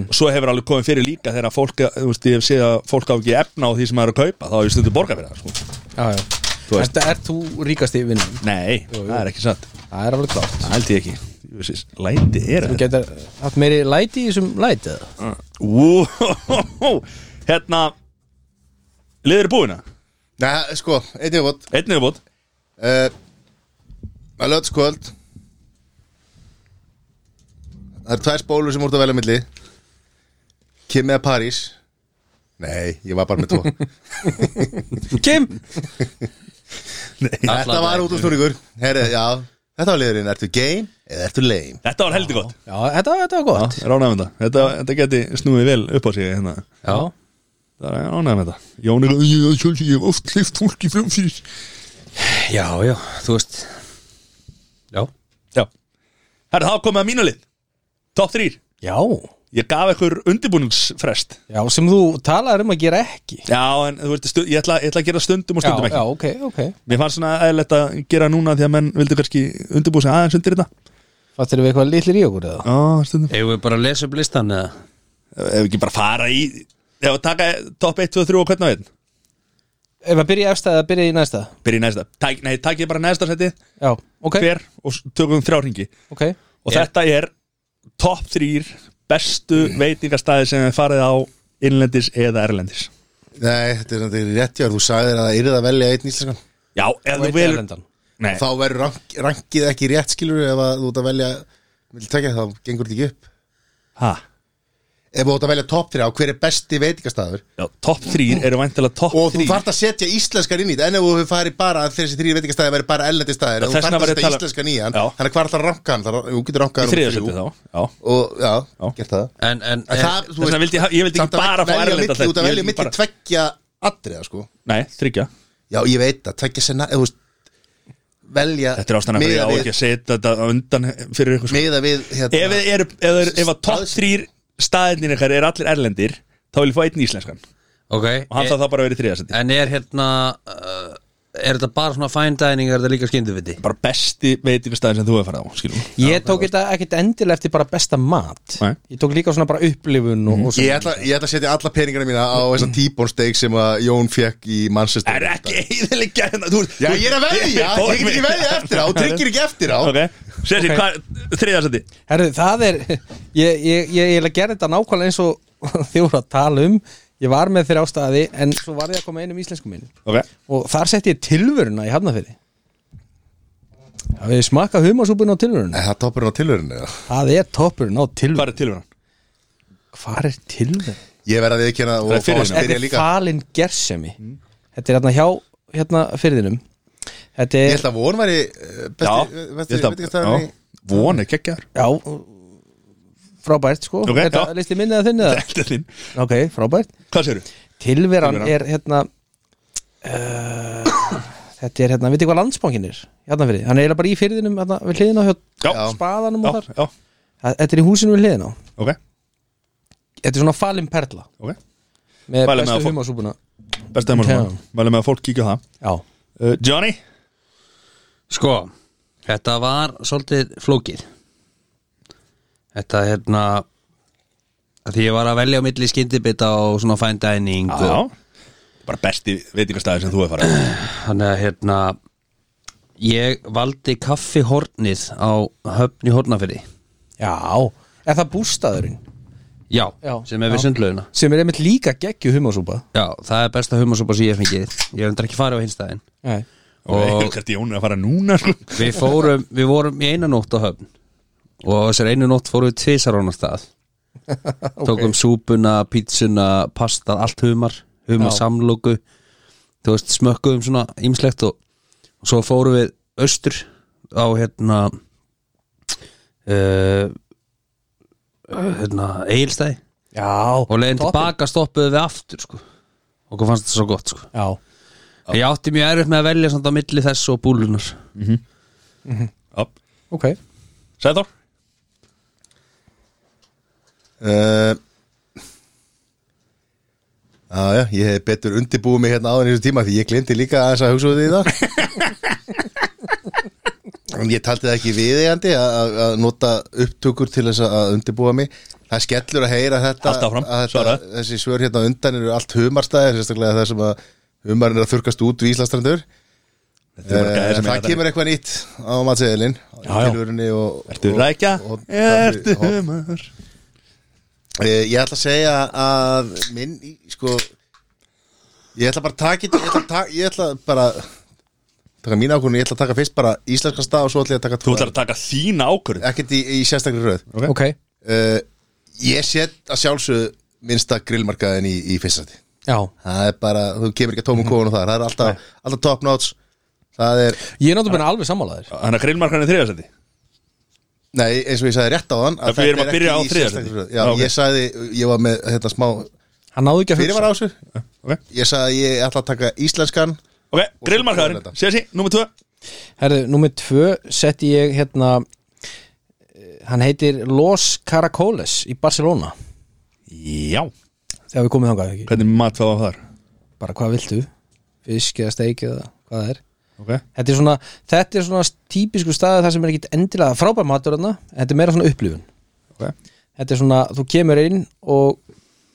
Og svo hefur alveg komið fyrir líka þegar að fólk Þú veist, ég sé að fólk á ekki efna á því sem maður er að kaupa Þá hef ég stundu borga fyrir það sko. Já, já Þú veist- Þetta er þú ríkast í vinnum Nei, það er ekki satt það er alveg klátt Það held ég ekki Ég veist, Læti er þú þetta getur haft meiri læti í þessum læti eða? Wow. (laughs) Hérna Liður er búina Nei, sko, einnig og bótt Einn er búin uh, Að lögðskvöld Það er tvær spólur sem úr það velja milli Kim eða París Nei, ég var bara (laughs) með tvo Kim Þetta var út úr snúringur Herri, já, þetta var liðurinn, ertu game eða ertu lame Þetta var heldig gott já, þetta, þetta var gott Ránaðum þetta Þetta, þetta geti snúið vel upp á sig hérna. Já Það er ránaðum þetta Jón er að ég, ég, ég, ég hef oft leift fólki frum fyrir Já, já, þú veist Já Já Herra, þá komið að mínu lið Top 3 já, Ég gaf ykkur undirbúningsfrest já, sem þú talaður um að gera ekki Já, en þú veist, stu, ég, ætla, ég ætla að gera stundum og já, stundum ekki já, ok, ok Mér fannst svona eðlilegt að gera núna því að menn vildu kannski undirbúið sig aðeins undir þetta fattir við eitthvað litlir í okkur eða Já, stundum Eigum við bara að lesa upp listan eða? Ef ekki bara fara í Ef að taka topp 1, 2, 3 og hvernig á einn ef að byrja í efsta eða byrja í næsta Byrja í næsta Tæk, Nei, takk ég bara næsta seti já, ok, Hver og s- tökum þrjá ringi ok Og þetta er topp 3 bestu veitingastæði sem þið farið á innlendis eða erlendis Nei, þetta er þetta er rétt hjá, þú sagðir að það yrði að velja einn íslenskan Já, ef og þú eitt velur erlendan Nei, Þá verður rank, rankið ekki rétt skilur ef að þú ert að velja vil tekja þá gengur þetta ekki upp ha Ef þú ert að velja top 3 á hver er besti veitingastæður Já, topp 3 eru væntilega topp og þú 3 þarft að setja íslenskar inn í þetta en ef þú hefur farið bara að þessi þrýr veitingastæði verið bara ellendi stæðir Já, þú þess þarft vegna að var ég setja að tala- íslenskan í hann Já. þannig hvar þarf að ranka hann Þarf að- þú getur Í rankað hann þriðja þrjú. seti þá Já og já, Já. gert það En, en, en það, þú Þess vegna veist, vildi ég, ha- ég vildi samt ekki að bara fá velja erlenda milli- þú ert að Ég velja vildi mitt bara- tveggja atriða sko Nei, þryggja já, ég veit að tveggja senna eða, þú veist, velja Þetta er ástæðan að ég á miða ekki við, að setja þetta á undan fyrir ykkur sko. miða við hérna, Ef þið eru, ef þið eru, ef að topp þrýr staðinir ykkar er allir erlendir þá vil ég fá einn íslenskan og Ok hann þarf það bara að vera í þriðasendi En er hérna uh, Er þetta bara svona fine dining Er þetta líka skynduviti? Bara besti veitingastæðin sem þú hefur farið á skilum ég tók þetta ekkit endilega eftir bara besta mat Nei. ég tók líka svona bara upplifun og, og ég svona ætla, ég ætla að setja alla peningana mína á þessa tíbónsteik sem að Jón fekk í Manchester Mm. Er ekki eðilega hérna þú- já, ég er að veðja, Fór ég get ekki mig. veðja eftir á og tryggir ekki eftir á Ok, Sessi, Ok. okay. þriðasendi Herðu, það er ég, ég, ég, ég gerði þetta nákvæmlega eins og (laughs) þið voru að tala um ég var með þér ástæði en svo var ég að koma einum íslensku mínu Ok, og þar setti ég tilvöruna í hafnafyrði hafið þið smakkað humasúpun á tilvöruna Eh. Er það toppurinn á tilhörinu eða? það er toppurinn á hvað tilvöruna er tilvæðan? hvað er tilvörun? Ég verði að viðkjöna Það er og fá að fyrir þetta spyrja er líka falin gersemi þetta er hérna hjá hérna fyrðinum þetta Ég er held að von væri eh, besti, Já, besti veitingastæðurinn í- Von er kekkjar já, frábært sko Ok, þetta, já. listi minni að þinni (laughs) það Þetta er þín. ok, frábært Hvað segirðu? tilveran Tilveran. er hérna uh, þetta er hérna, veitir hvað landsbankin er hérna fyrir, hann er eiginlega bara í fyrðinum hérna, við hliðina á hjá Já, spaðanum og já, þar já, Það- þetta er í húsinu við hliðina á ok, þetta er svona falin perla ok með Falin með að bestu fá- humasúpuna Besta heimarsmann, mælum með að fólk kíkja á það já, uh, Johnny, Sko Þetta var svolítið flókið Þetta hérna að Því ég var að velja á milli skyndibita og svona fine dining og, já Bara besti veitingastæði sem þú hefur farið á. Þannig að hérna Ég valdi kaffihornið á höfn í hornafyrði já, er það bústaðurinn Já, Já, sem er já. við sundlaugina sem er einmitt líka geggju humasúpa Já, það er besta humasúpa sem ég hef fengið Ég hef endur ekki farið á hinstæðin Nei. Og hvert Jón er að fara núna sko. Við fórum, við vorum í eina nótt á höfn Og á þessar einu nótt fórum við tvisar á (laughs) annar stað Tókum súpuna, pítsuna, pasta, allt humar Humar Já. samlóku Þú veist, smökkuðum svona ýmslegt og, og svo fórum við austur á hérna uh, hérna, Egilstæði já, Og leiðin toppin. tilbaka stoppuðu við aftur sko. Okkur fannst þetta svo gott sko. já, En Ég átti mjög erfitt með að velja samt á milli þess og búlunar Já. ok Sæður Uh, Já, já, ég hef betur undirbúið mig hérna áður í þessum tíma því ég glindi líka aðeins að hugsa út í (laughs) það En ég taldi það ekki viðeigandi að- að að nota upptökur til þess að- að undirbúa mig Það er skellur að heyra þetta, Haltu áfram, að þetta svaraðu. Þessi svör hérna á undan eru allt humarstæðir sérstaklega það sem að humarinn er að þurkast út við Íslandstrandur Þetta er bara gæði Eh, sem það eiga kemur eitthvað nýtt á matseðilinn Já, já. Ertu rækja? Ertu humar? Eh, Ég ætla að segja að minn, í- sko Ég ætla bara að taka Ég ætla, að taka, ég ætla bara taka mín ákvörðun, ég ætla að taka fyrst bara íslenskan stað og svo ætla ég að taka Þú ætlar að taka þína ákvörð Ekkert í, í sérstakri röð Ok, uh, Ég set að sjálfsögðu minnsta grillmarkaðin í, í fyrsta sæti já Það er bara, þú kemur ekki að Mhm. tóma kóðan og þar Það er alltaf, alltaf top notes Það er, Ég er náttúrulega alveg sammálaður Þannig að grillmarkan er þriðarsæti nei, eins og ég sagði rétt á hann Það við erum að byrja á þriðja sæti. Já, Já, ok. ég sagði, ég var með hérna smá Hann náðu ekki að Fyrir hugsa var á þessu Eh, Ok, Ég sagði að ég ætla að taka íslenskan ok, svo grillmarkaðurinn þetta. Sér sí, númer tvö Herðu, númer tvö setti ég hérna eh, Hann heitir Los Caracoles í Barcelona Já Þegar við komum þangað ekki Hvernig mat fáðu þar? Bara hvað viltu? Fisk eða steik eða hvað það er Ok Þetta er svona, þetta er svona típisku staðið þar sem er ekkit endilega frábær matur þarna en Þetta er meira svona upplifun Ok. Þetta er svona, þú kemur inn og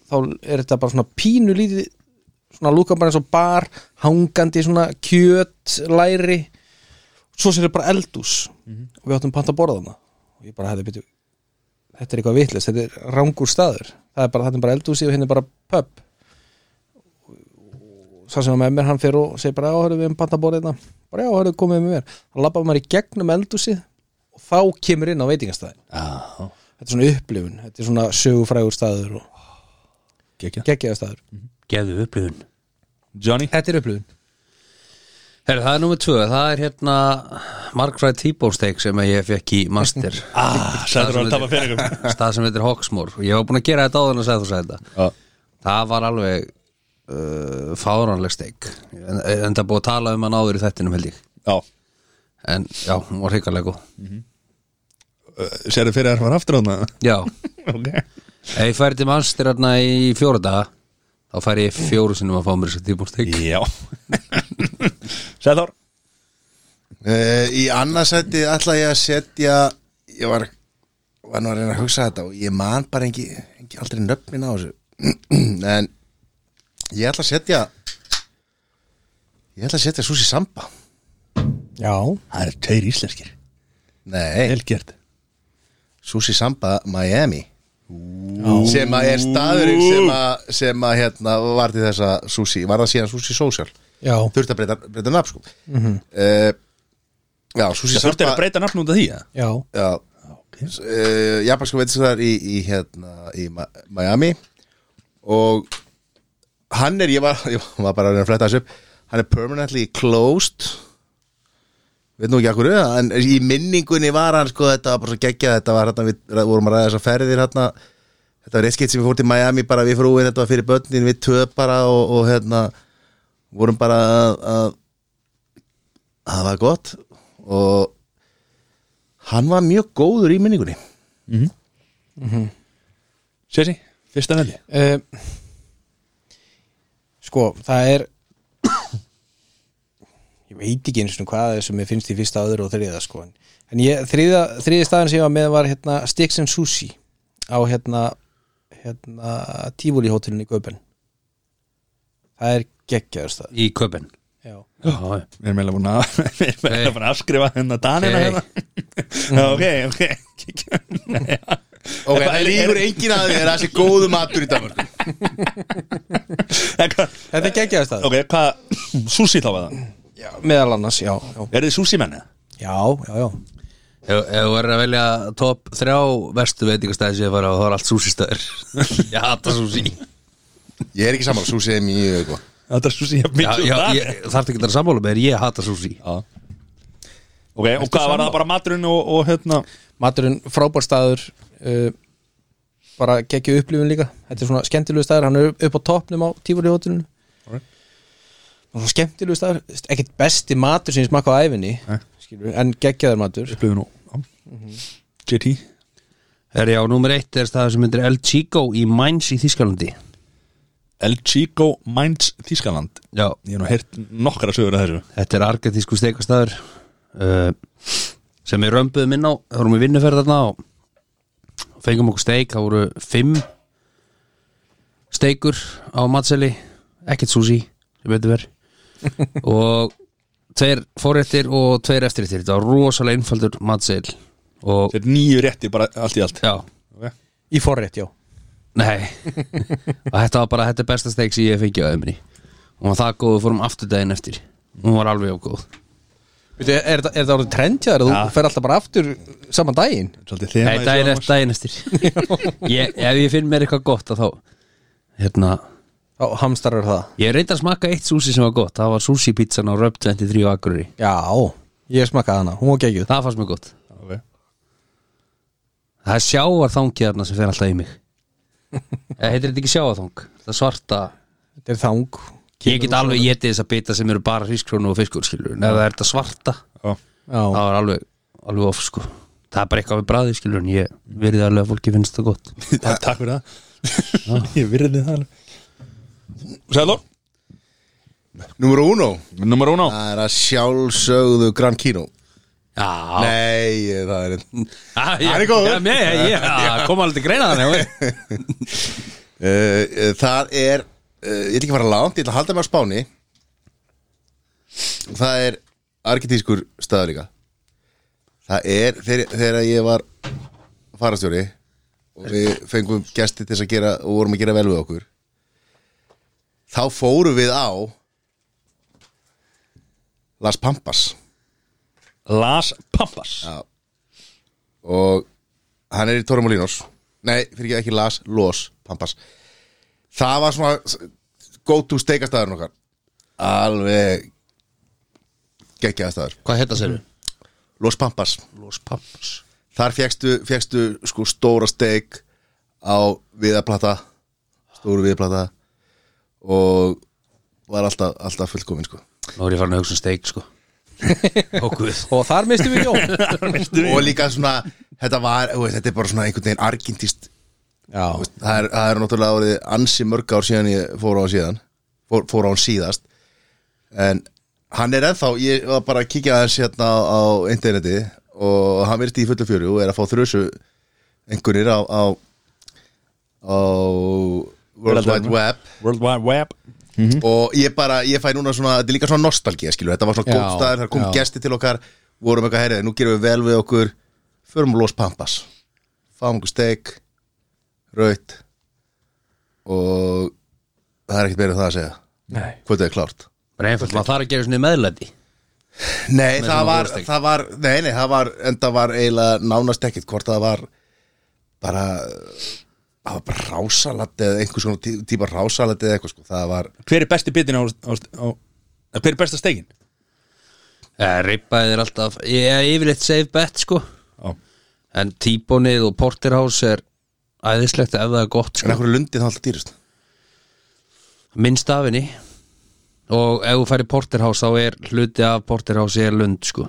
þá er þetta bara svona pínu lítið svona lúka bara eins og bar hangandi svona kjöt læri svo sér þetta bara eldús og við áttum panta að borða þarna og ég bara hefði byrju þetta er eitthvað vitlist, þetta er rangur staður það er bara, þetta er bara eldúsi og hérna er bara pub sá sem var með mér, hann fer og segir bara, já, hörðu, við um pantaborðið þetta bara, já, hörðu, komið með mér hann labbaði maður í gegnum eldúsið og þá kemur inn á veitingastæðin Já, þetta er svona upplifun, þetta er svona sögufrægur staður og gekkja geggjaða staður Geðu upplifun Johnny þetta er upplifun, Herra, það er númer tvö, það er hérna Mark Fry T-Bone Steak sem að ég fekk í Master Ah, sagður Stað að sem tapa heitir- peningum Stað sem heitir Hawksmoor og ég var búin að gera þetta áður en að segja þú segja þetta Það var alveg uh, fáránleg steik en, en það búið að tala um hann áður í þettinum held ég Já En já, hún var hrikalega góð Sér þið Eh, fyrir að það var aftur á þarna (laughs) Já, Ok ef ég færi til Master hérna í fjóra daga þá færi ég fjóru sinnum að fá mér þessi T-Bone Steak Já Sæður uh, Í annarsætti ætla ég að setja Ég var, var nú að reyna að hugsa þetta og ég man bara engi, engi aldrei nöfnin á þessu (clears throat) En ég ætla að setja Ég ætla að setja Susi Samba já Það er tveir íslenskir Nei, Elgjert Susi Samba Miami sem að er staðurinn sem að, sem að hérna var til þessa Susi, var það síðan Susi Social já, þurfti að breyta, breyta nafn sko mm -hmm. Já, Susi Það Mhm. þurfti að breyta nafn út af því eða? já, Já, Okay. uh, japansku veitistar í, í, hérna, í Ma- Miami og hann er, ég var, (laughs) ég var bara að reyna að fletta þessu upp hann er permanently closed veit nú ekki akkur en í minningunni var hann sko þetta var bara svo geggjað, þetta var hérna við ræ- vorum að ræða þessar ferðir hérna þetta var reiskitt sem við fórum til Miami bara við frúin, þetta var fyrir börnin, við töð bara og, og hérna vorum bara að, að að það var gott og hann var mjög góður í minningunni Sér sí, fyrsta nefni uh, sko, það er ég veit ekki eins og hvað sem mér finnst í fyrsta öðru og þriða sko. en- en ég, þriða, þriði staðan sem ég var með var hérna Sticks and Sushi á hérna, hérna Tífúli hótelinu í Gaupen það er geggjaður staður í köpinn já. Já, já Við erum eiginlega búin að (laughs) Við erum eiginlega búin að afskrifa hennar danina Hey. hérna Mhm. Já, Ok, ok Ok, Ef að- það er- lífur er- engin að því að það sé góðu matur í Danmarku En hvað- þetta er geggjaður staður Ok, hvað Sushi þá var það já, meðal annars, já já, Er þið sushi menni? já, já, já. Ef ef þú verður að velja top þrjá verstu veitingastæði sem ég fara á, þá er allt súsistæður (laughs) Ég hata súsi Ég er ekki saman, Súsi er mjög góð Þetta er sushi jafn Já, mikið já, og það ég þarf ekki að sammála með þér, ég hata súsi Já Ok, og hvað var það bara maturinn og, og hérna maturinn frábær staður uh, bara geggju upplifun líka þetta er svona skemmtilegu staður, hann er upp á toppnum á tífur í hótelinu Alright. og svona skemmtilegu staður, ekkert besti matur sem ég smakka á æfinni Nei. skilur, en geggjaður matur Upplöfun og já. JT Er ég á númer eitt er staður sem myndir El Chico í Mainz í Þískalandi El Chico Mainz Þískaland Já, Ég hef nú heyrt nokkara sögur að þessu þetta er argentísku steikastæður uh, sem við römbuðum inn á þá vorum við vinnuferð þarna og fengum okkur steik, það voru fimm (laughs) steikur á matseli ekkert súsi, sem veitum verð og tveir fóréttir og tveir eftirréttir þetta var rosalega einfaldur matseil og Þetta er nýju rétti bara allt í allt já, Ok. Í forrétt, já nei og þetta var bara, þetta er besta steik sem ég hef fengið á ömri og hún var það góð, við fórum aftur daginn eftir hún var alveg ágóð Veitu, er, er, er það orðið trendjaður? Þú Ja. fer alltaf bara aftur saman daginn Svolítið nei, þema daginn eftir, daginn eftir ég, ef ég finn mér eitthvað gott að þá hérna, Þá hamstarar það ég reyndi að smakka eitt súsi sem var gott það var súsi pizzan á Röp 23 og Akureyri Já, ég smakkaði hana, hún var geggjuð það fannst mér gott okay. það er sjávarþangið þarna sem fer alltaf í mig Eh, heitir þetta ekki sjávarþang það svarta Þetta er þang Ég get alveg getið þess að bita sem eru bara hrískrónu og fiskur skilur en ef það er þetta svarta Já. þá Já, er alveg, alveg of sko það er bara eitthvað við bræði skilur en ég verið alveg að fólki finnst það gott Takk takk fyrir það Ég virði það alveg Sæðló Númer uno Númer hún á Það er að sjálfsögðu Gran Kino Já, Nei, ég- það er einn Ah, Hann er ég- góður. já, mér- ég- ég- já, kom alveg til greina þannig Uh, uh, Það er uh, Ég ætla ekki að fara langt, ég ætla að halda mig á spáni Og Það er Arkitískur staður líka Það er þegar, þegar ég var farastjóri og við fengum gesti til þess að gera og vorum að gera vel við okkur þá fórum við á Las Pampas Las Pampas Já. og hann er í Torremolinos nei, fyrir ekki, ekki Las Los Pampas það var svona go to steikastæðurinn okkar alveg geggjaðastæður Hvað hérna, heita sér við? Los Pampas Los Pampas þar fegstu, fegstu sko stóra steik á viðaplata stóru viðaplata og var alltaf, alltaf fullkomin sko Nú er ég farin að hugsa um steik (laughs) sko Óguð og þar mistum við (laughs) Jón og líka svona þetta var, þú veist, þetta er bara svona einhvern veginn argentist Já, Þú veist, það er, það er náttúrulega orðið ansi mörg ár síðan ég fór á hann síðan fór, fór á hann síðast en hann er ennþá, ég var bara að kíkja aðeins hérna á, á interneti og hann virti í fullu fjöru og er að fá þrjusu einhvernir á á, á World Veraldarinnar. Wide Web hérna? World Wide Web og ég bara, ég fæ núna svona þetta er líka svona nostalgía, skilur, þetta var svona Já, góð staður þar kom já. gesti til okkar, vorum eitthvað herrið nú gerum við vel við okkur, förum los pampas fáum okkur steik raut og það er ekkert meira en það að segja, nei hvað það er klárt Bara einfalt, maður þarf að gera svona í meðlæti Nei, það Með svona var, góðsteik. það var nei, nei, það var, enda var eiginlega nánast ekkert hvort það var bara það var bara rásalat eða einhvers konar tí- típa rásalat eða eitthvað sko, það var Hver er besti bitin á, á, á eh, Hver er besta steigin? Rippaðið er alltaf Ég er yfirleitt save bet sko Já En tíbónið og porterhouse er æðislegt ef það er gott en sko. ekkur lundið það alltaf dýrist minnst af henni og ef þú færi porterhouse þá er hluti af porterhouse er lund sko.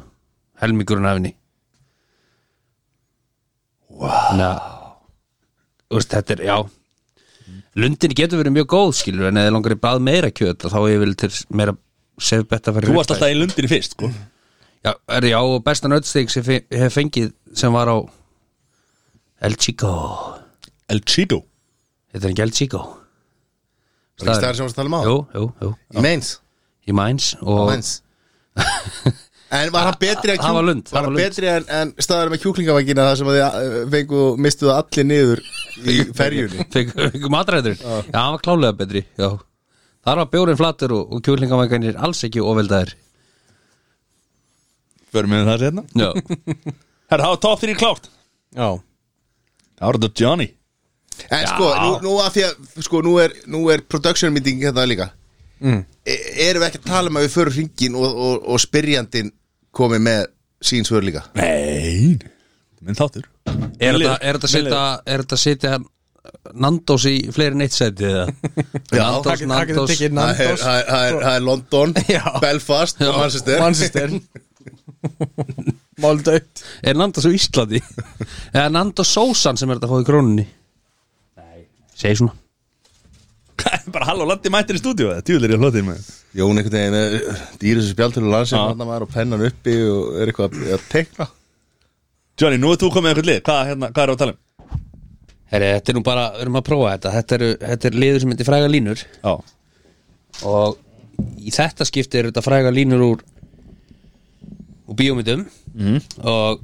helmingurinn af henni wow Na, úst, þetta er, já lundin getur verið mjög góð skilur en ef þið langar í bræð meira kjöt þá er ég vil til meira sef betta fyrir Þú varst alltaf í lundinu fyrst sko. já, er, já, og besta nöttstig sem fe- hef fengið sem var á El Chico El Chico þetta er ekki El Chico Það er ekki staðar sem varst að tala um á jú, jú, jú, Í meins í Mines og Lens En var hann betri en Það var lund, það Var hann var lund. betri en, en staðar með kjúklingavangina Það sem að þið eh, fengu mistuðu allir niður Í ferjunni (laughs) fengum matræður já, hann var klálega betri já. þar var bjórin flatur og, og kjúlingavængarnir alls ekki ofveldaðir Förum við það hérna. sérna já, Herra, það var top 3 klárt Já, Það var þetta Johnny En sko, nú, nú að því að Sko, nú er, nú er production meeting hérna líka Mm. e, Erum við ekki að tala um að við förum hringin Og, og, og spyrjandinn komi með sín svör líka Nei Minn þáttur (laughs) er Minn þetta liður. er Minn þetta að setja er þetta að setja Nandos í fleiri neitt seti eða (laughs) Já, það getur- það Nandos, getur Nandos tekið Það er, Nandos það er, það er, það er London, Já. Belfast og Manchester Manchester Máldaut er Nandos á (laughs) Íslandi eða Nandos sósan sem er þetta að fá í króninni nei segi svona (laughs) Bara halló, landi mættir í stúdíu Tjúlir ég hlótið með Jón einhvern veginn eh, dýrur þessu spjaldur og landsinn Já. hann var og pennan uppi og er eitthvað að- að tekna Johnny, nú er þú komið með einhvern lið Hvað, hérna, hvað er að tala um? Heri, þetta er nú bara, við erum að prófa þetta þetta eru, þetta eru liður sem heitir fræga línur Já og í þetta skipti eru þetta fræga línur úr og bíómyndum Mhm. og,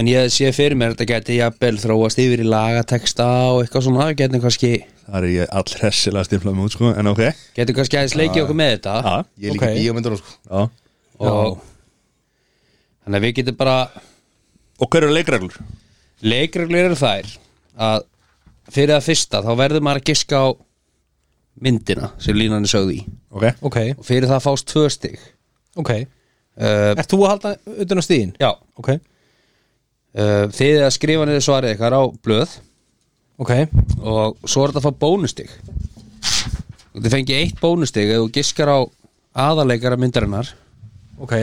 en ég sé fyrir mér að þetta geti jafnvel þróast yfir í lagateksta og eitthvað svona, geti kannski Það er ég all hressilega stiflað með út sko En ok, geti kannski aðeins leikið okkur með þetta já, Ég líka Ok. okay. bíómyndunum sko já og þannig að við getum bara Og hver eru leikreglur? leikreglur eru þær að fyrir að fyrsta þá verður maður að giska á myndina sem línan er sögð í Ok, ok, og fyrir það fást tvö stig ok uh, (laughs) Ert þú að halda utan á stíðin? já, Ok, uh, þið að skrifa niður svarið ykkar á blöð ok, og svo er þetta að fá bónustig og þið fengið eitt bónustig ef þú giskar á aðarleikara myndarinnar ok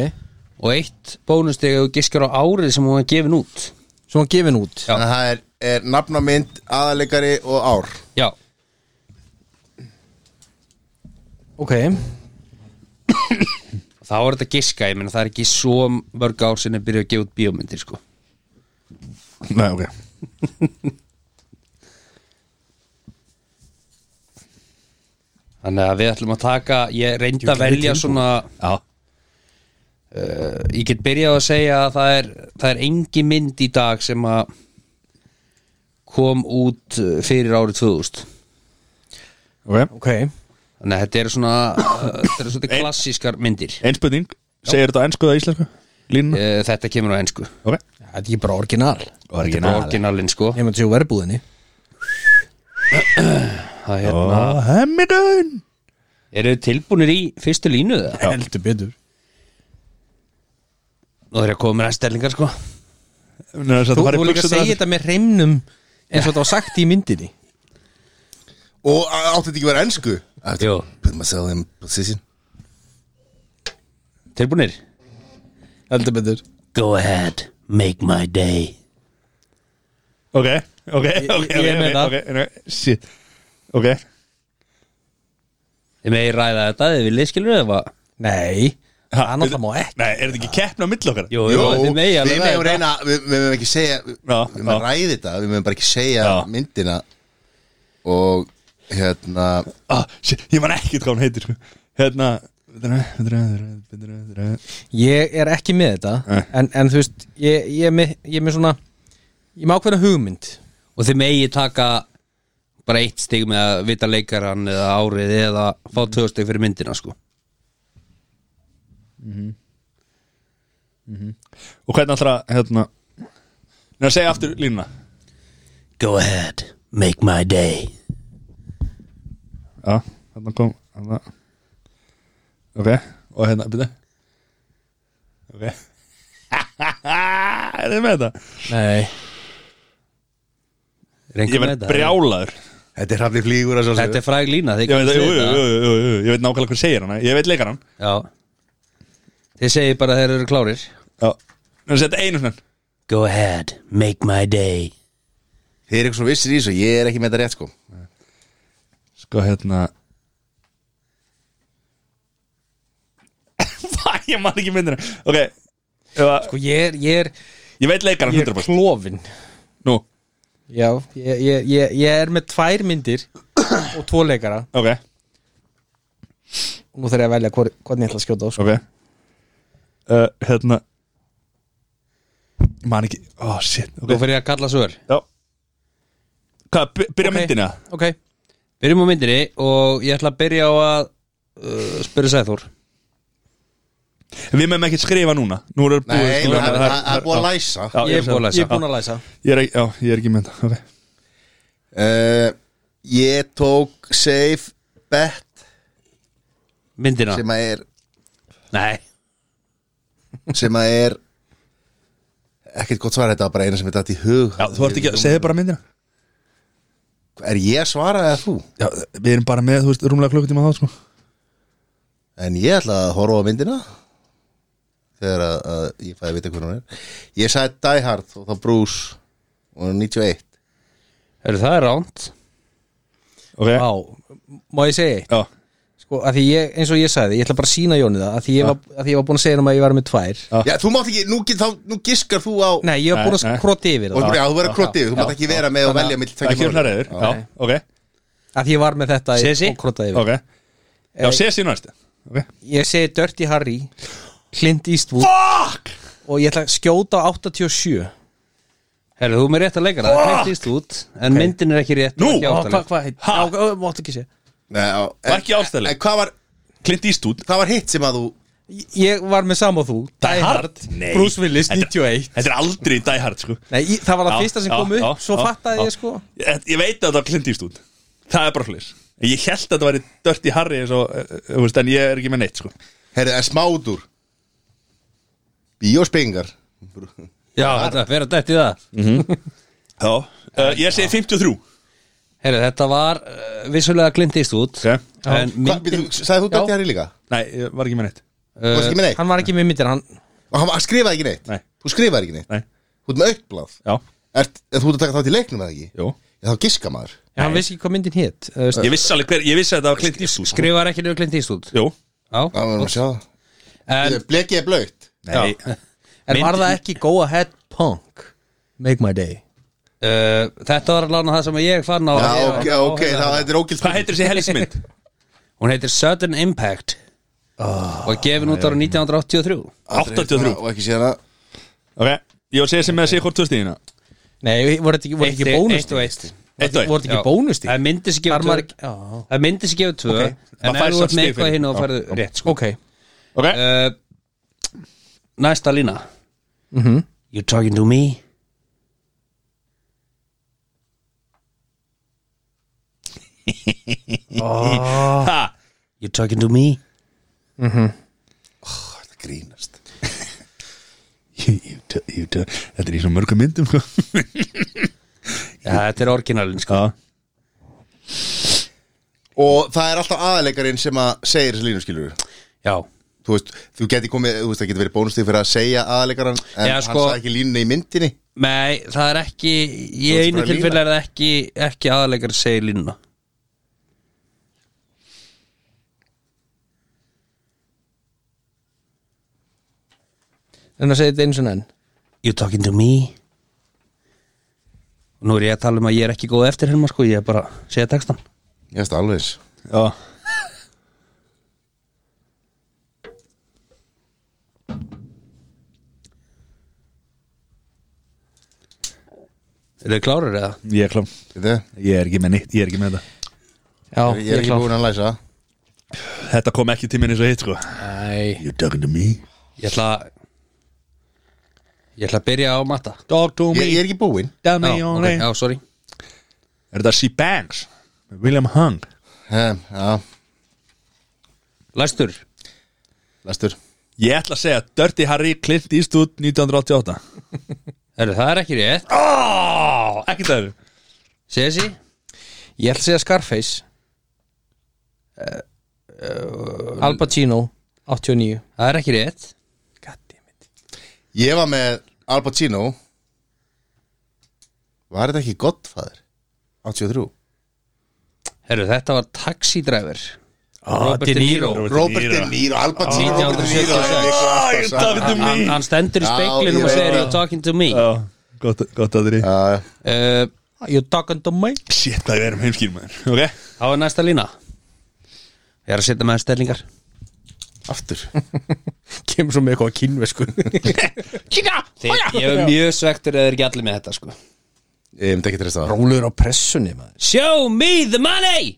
og eitt bónustig ef þú giskar á árið sem hún er gefin út Svo hann gefin út Já. Þannig að það er, er nafn á mynd, aðalegari og ár já, Ok, þá er þetta giska ég meina það er ekki svo mörg ár sinni að byrja að gefa út bíómyndir sko nei ok þannig að við ætlum að taka ég reyndi að velja svona Já, ég get byrjað að segja að það er það er engi mynd í dag sem að kom út uh, fyrir árið 2000 ok ok þannig að þetta eru svona uh, þetta eru svona klassískar myndir Einspurning, segir þetta á ensku eða íslensku? Línuna? Eh, þetta kemur á ensku Ok Þetta er ekki bara orginal Original orginalinn sko Nefnum þetta séu verðbúðinni það er hérna Og hemmigun eru þið tilbúinir í fyrstu línu það Heldur betur nú er ég að koma með stellingar sko Nei, þess að Þú, það fari þú líka að buxurnar segja aftur. þetta með reymnum eins og þetta var sagt í myndinni Og á- átti þetta ekki að vera ennsku? Jú. Put myself in position tilbúinir Heldur betur go ahead make my day Ok, ok, ok, ég er með ok, það. ok, ok, shit Ok, þið megi ræða þetta þið viljið skilur þið það Nei, Ha, það náttúrulega má ekki nei, er þetta ekki keppna á milli okkar? jú, Jú, jú, þið megi við alveg ræða meðum þetta. reyna Við við meðum ekki segja Við Já, við meðum að já. ræði þetta Við meðum bara ekki segja Já. myndina Og hérna ah, shit, Ég man ekki hvað hún heitir sko. Hérna Þetta Ég er ekki með þetta Nei. en, en þú veist, ég, ég, er með, ég er með svona Ég má hverja hugmynd og þið megi taka bara eitt stig með að vita leikaran eða árið eða fá tvö stig fyrir myndina sko Og hvernig allra, hérna Nei, segja aftur línuna go ahead, make my day Já, hérna kom hérna. Ok, og hérna, byrja Ok (laughs) Er þið með þetta? Nei Ég verð brjálaður Þetta er hafði flýgur að svo þetta er fræg lína þið Ég veit, kannist jú, við jú, þetta. jú, jú, jú, ég veit nákvæmlega hvað segir hana Ég veit leikar hann Já Þið segir bara að þeir eru klárir Já, en setja einu svona Go ahead, make my day Þið er eitthvað svo vissir í þessu Ég er ekki með þetta rétt sko Sko (laughs) hérna Fæ, ég man ekki myndina Ok, ef að- Sko ég er, ég er, ég veit leikar hann ég er 100% klofin Nú, Já, ég, ég, ég, ég er með tvær myndir og tvo leikara ok, og nú þarf ég að velja hvor, hvernig ég ætla að skjóta á sko. ok uh, Hérna Ég man ekki, oh shit Nú okay. fyrir ég að kalla svör Já Hvað, by- byrja Ok. myndina? Ok, Byrjum á myndinni og ég ætla að byrja á að uh, spyrja Sæþór Við meðum ekki skrifa núna Nú er Nei, búið það það- Já, það er búið að læsa já, Ég er búin að ég er læsa búin að læsa Ég er, ekki- já, ég er ekki með þetta okay. Eh, Ég tók safe bet Myndina sem að er Nei sem að er ekkert gott svar þetta var bara eina sem er dætt í hug Já, þú ert ekki að segja bara myndina Er ég að svara eða þú? Já, við erum bara með, þú veist, rúmlega klukkutíma þá sko. En ég ætla að horfa á myndina þegar að, að ég fæði að vita hvernig hún er Ég sagði Die Hard og þá Bruce og hún er 91 Eru það ránt? Ok, Vá, má ég segja eitt? já, Sko, að því ég, eins og ég sagði, ég ætla bara að sína Jóni það að því ég, var, að því ég var búin að segja um að ég var með tvær Já. Já, þú mátt ekki, nú, get- þá, nú giskar þú á Nei, ég var Nei, búin að nei. skrota yfir og þú, það já, þú verður krotti yfir, þú mátt ekki vera með og velja mill ekki hún hlæriður Já, ok, að því ég var með þetta í- Sesi? og krota yfir ok Já, sé síðan næstu Ok, Ég segi Dirty Harry Clint Eastwood Fuck! og ég ætla að skjóta á 87 Herðu, þú er með rétt að leika það, Fuck! hægt íst út En myndin er ekki rétt Nú! ekki Hvað hva, áttaleg. hva, heit? Ha? Já, ó, máttu ekki sé Nei, á, Var ekki ástæðileg. En hvað var, Clint Eastwood hvað var hitt sem að þú Ég var með sama og þú Die Hard, Nei. Bruce Willis, Þetta- 91 Þetta er aldrei Die Hard sko Nei, í- það var það Já, fyrsta sem já, kom upp já, Svo já, fattaði já. ég sko ég, ég veit að þetta var Clint Eastwood Það er bara hlis Ég held að þetta væri Dirty Harry eins og, eh, eh, þú veist, En ég er ekki með neitt sko Herri, en smáður Bíóspengar Já, þetta fer að dætti það Já uh, Ég segi 53 Herðu, þetta var uh, vissulega Clint East út Ok. En myndin Myndin... Sæði þú Já. dætti Harry líka? Nei, ég var ekki með neitt Þú varst ekki með neitt? Hann var ekki með myndir, hann Og Hann, hann skrifaði ekki neitt? Nei. Þú skrifaði ekki neitt? Nei, Þú ert með auktblað? já, Ert, er þú ert að taka þátt í leiknum eða ekki? jú Já, þá giska maður En hann vissi ekki hvað myndin hétt Ég vissi alveg hver, ég vissi að þetta var Clint Eastwood sko. skrifar ekki niður Clint East út Jú Já, við erum að sjá það En Blekið er blöitt Nei, En var það ekki Go Ahead Punk Make My Day uh, þetta var alveg það sem ég fann á Já, ok, ok, þá þetta er ógild Hvað heitir þessi helgismynd? Hún heitir Sudden Impact Ah. oh, Og gefin út ára 1983 83 Og ekki séð það Ok, ég var að segja sem með að segja hvort tvöstíðina Nei, voru þetta ekki, voru Eitt- ekki bónust eitt og eitt. Eitt og eitt. Voru þetta ekki bónust Það myndi sig gefa Þar tvö maður ekki- Ah. já. Það myndi sig gefa tvö Ok. En Maður fær ef samt þú ert með stig fyrir. eitthvað hinn og Já. færðu rétt sko. Ok Ok, uh, Næsta lína You talking to me? ha, You talking to me? Þetta grínast Ég- ég- ég- ég- Þetta er í svona mörgum myndum sko. Ja, þetta er orginalin sko Já, Og það er alltaf aðalegarinn sem að segir þessi línu skilur Já, Þú veist, þú geti komið, þú veist, það geti verið bónustig fyrir að segja aðalegaran En Já, hann sko- sagði ekki línuna í myndinni nei, það er ekki Í Þú veist einu bara lína. tilfelli er það ekki ekki aðalegar að segja línuna En það segir þetta eins og enn You talking to me? Nú er ég að tala um að ég er ekki góð eftir hérna sko, ég er bara að segja textan Ég veist alveg eins já Er þið klárar eða? Ég er klám Þetta, Ég er ekki með neitt, ég er ekki með þetta Já, ég er ekki klár. búin að læsa Þetta kom ekki til minni svo hitt sko Æ, You talking to me? ég ætla að Ég ætla að byrja á matta Talk to Ég, ég er ekki búin tell Já, ok, já, sorry Er þetta She Bangs? William Hung Em, Já, Læstur læstur Ég ætla að segja Dirty Harry Clint Eastwood 1988 Herru, það er ekki rétt oh, Ekki það eru Sesi Ég ætla að segja Scarface Eh, Al Pacino 89 Það er ekki rétt Goddammit Ég var með Al Pacino Var þetta ekki Godfather? 83 Herru, þetta var Taxi Driver Ah, Robert De Niro. Robert De Niro, Al Pacino, Ah, Robert De Niro það er 1976. eitthvað alltaf Ah, saman. David De Hann, hann stendur í Já, ég speiklinum og veit segir það. You're talking to me Já, gott, gott að þeirri Já, já. Uh, You talking to me? Shit, það er um heimskýrum okay. Þá er næsta lína Ég er að setja með stellingar (laughs) Aftur Kemur svo með eitthvað kínvesku Kíka, Þeir, Ég er mjög svektur eða er ekki allir með þetta sko. Ég myndi ekki treysta það Rólur á pressunni maður Show me the money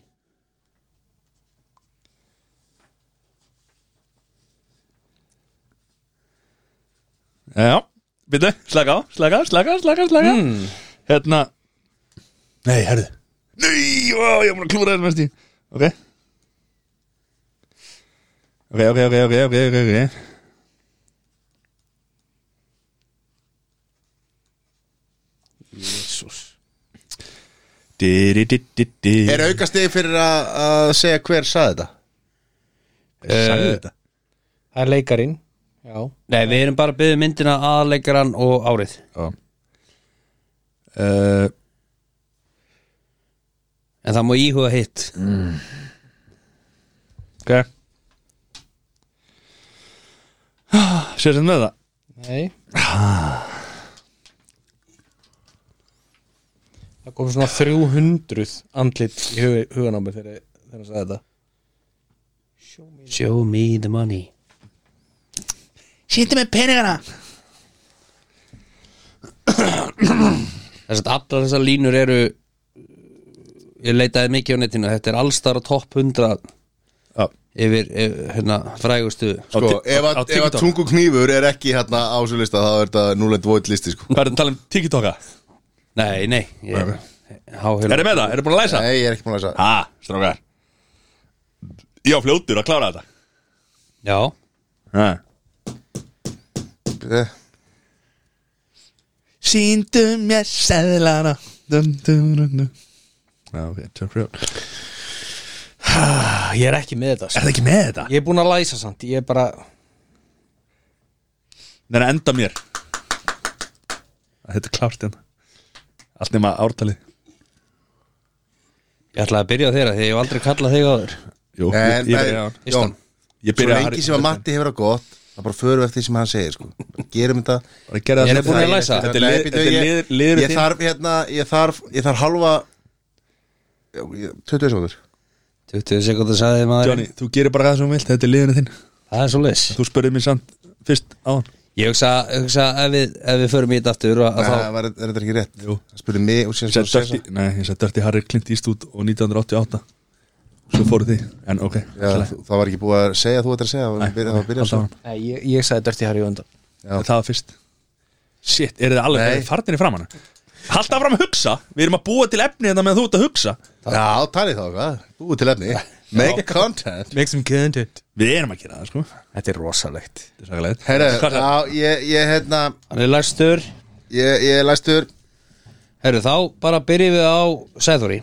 Já, byrju, slaka á, slaka á, slaka á, slaka á, slaka á Hérna Nei, herðu Nei, ó, ég er búin að klúra þér mest í Ok Ok, ok, ok, ok, ok, ok, ok Jesus. Di-di-di-di-di Er aukastegi fyrir að að segja hver saði þetta? Sagði þetta Það er leikarin Já Nei, við erum bara að byggja myndina aðleikaran og árið Já uh, En það má íhuga hitt Ok Sér sem með það Nei Það kom svona 300 andlit í hug, hugan á mér þegar þegar hann sagði þetta Show me the money Sýndi með peningana Þess að allar þessar línur eru Ég leitaði mikið á netinu Þetta er allstar á topp 100 Já. Yfir, yfir hérna, frægustu Sko, Á ti- ef á- á að- ef að TikTok. tungu knýfur er ekki hérna á þessu lista þá er þetta núlend void listi sko Hvað er að tala um TikToka? Nei, nei ég, Er Háhjóla þið með það? Er þið búin að læsa? Nei, ég er ekki búin að lesa Ha, strákar Ég á fljótur að klára þetta Já, ha. Eh, Sýndu mér seðlana dun, dun, dun, dun. Já, ok, tök frjótt Er Ég er ekki með þetta sko. það ekki með þetta? Ég er búin að læsa samt Ég er bara Nei, nei, enda mér Þetta er klárt hérna Allt nema ártalið ég ætlaði að byrja á þeirra Þegar ég hef aldrei kallað þig áður Jú, En, ég, ég byrja á nei, hann Jón, Ég svo byrja á lengi sem að Matti hefur það gott þá bara förum við eftir því sem hann segir sko Bara Gerum þetta Bara gerði það Ég er sem búin að það- læsa. Þetta er lið- Nei, þetta er býtu, lið- ég- liður Ég þinn. þarf hérna, ég þarf, ég þarf halva Já, ég- 20 sekundur 20 sekundar sagði þið maður Johnny, þú gerir bara það sem þú vilt, þetta er liðinu þinn Það er svo leis Þú spurði mér samt fyrst á hann Ég hugsa, hugsa ef, við, ef við förum í þetta aftur að, að Nei, þá, var- Er þetta ekki rétt? Jú. Hann spurði mig og Ég síðan sagði spurði Sessa. Dirty- Nei, ég sagði Dirty Harry Clint Eastwood og 1988 Svo fóru því, en ok Já, allt í lagi. þú- það var ekki búið að segja þú ættir að segja það var- Nei, það var ok, byrjað halda svo áfram. Nei, ég, ég sagði Dirty Harry á undan Já. Það var fyrst Shit, eru þið alveg Nei. eru þið farnir í framann Halda áfram að hugsa, við erum að búa til efni þetta með þú ert að hugsa Já, talið þá, hvað? Búið til efni Make content Make some content Við erum að gera það, sko Þetta er rosalegt Þetta er svakalegt. Herra, Hvað er það? já, ég, ég, hérna hann er læstur Ég, ég er læstur Herru, þá bara byrjum við á Sæðóri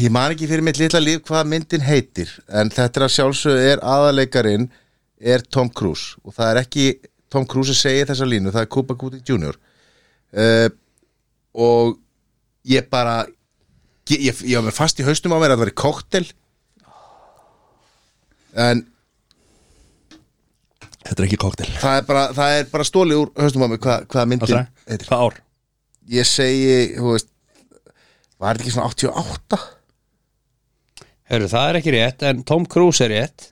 Ég man ekki fyrir mitt litla líf hvað myndin heitir En þetta er að sjálfsögðu er aðaleikarin Er Tom Cruise Og það er ekki Tom Cruise sem segir þessa línu Það er Cuba Gooding Jr. Uh, og ég bara Ég, ég, ég var mér fast í haustum á mér að það væri koktel En Þetta er ekki koktel það er bara, það er bara stólið úr haustum á mér Hvað, hvað myndin heitir Hvað ár? Ég segi, þú veist Var þetta ekki svona 88? Herru, það er ekki rétt, en Tom Cruise er rétt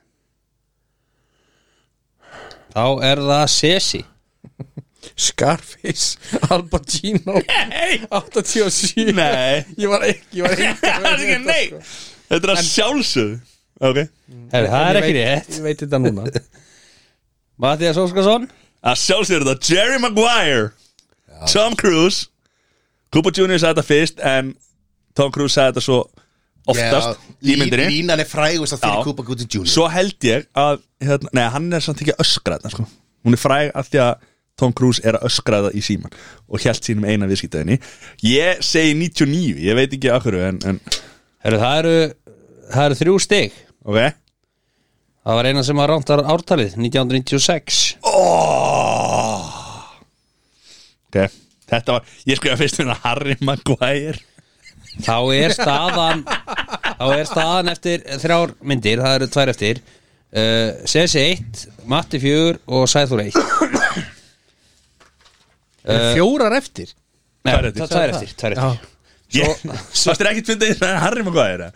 Þá er það Sesi Scarface (laughs) Al Pacino Nei 87 Nei. Ég var ekki (laughs) Ég var ekki (laughs) Það er ekki nei sko. Þetta er að sjálfsögðu Ok Herru, það er ekki rétt Ég veit þetta (laughs) núna Mattias Óskarsson að sjálfsögur þetta Jerry Maguire Tom Cruise Cooper Jr. sagði þetta fyrst en Tom Cruise sagði þetta svo oftast í myndinni Línan er frægust að Já. fyrir Cuba Gooding Jr. svo held ég að hérna, nei, hann er samt ekki að öskra þetta sko. hún er fræg af því að Tom Cruise er að öskra þetta í síman og held sínum eina viðskiptaðinni ég segi 99, ég veit ekki af hverju en, en Herru, það eru, það eru þrjú stig ok Það var eina sem var rántar ártalið 1996 oh! ok, þetta var ég skrifa fyrst hérna Harry Maguire Þá er staðan Þá er staðan eftir þrjár myndir Það eru tvær eftir uh, Sesi 1, Matti 4 og Sæðóri 1 Fjórar eftir Nei, Tvær eftir. það tvær eftir, tvær eftir. Ég- Fannst þér ekkert fyndið að Harry Maguire?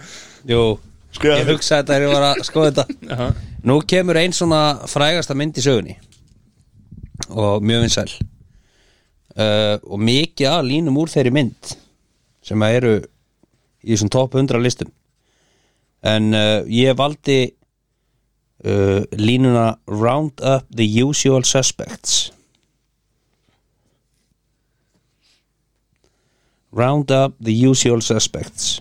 Jú, Skrifaðu ég fyrir. hugsaði þetta er ég var að skoða þetta Aha. Nú kemur einn svona frægasta mynd í sögunni og mjög vinsæl uh, og mikið að línum úr þeirri mynd sem að eru í þessum top 100 listum en uh, ég valdi uh, línuna Round up the usual suspects Round up the usual suspects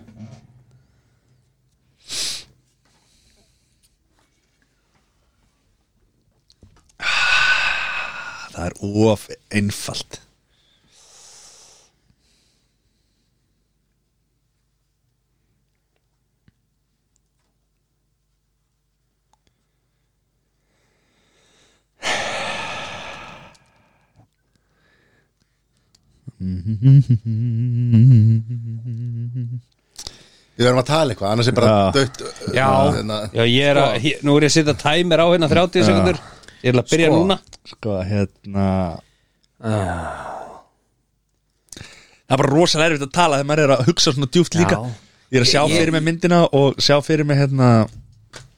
Það er of einfalt Við verðum að tala eitthvað, annars er bara Já. dött Já. hérna, Já, ég er að, hér, nú er ég að setja tæmir á hérna 30 sekundur Ég er að byrja Sko. núna Sko, hérna Ah. Það er bara rosalega erfitt að tala þegar maður er að hugsa svona djúft líka Ég er að sjá fyrir mig myndina og sjá fyrir mig hérna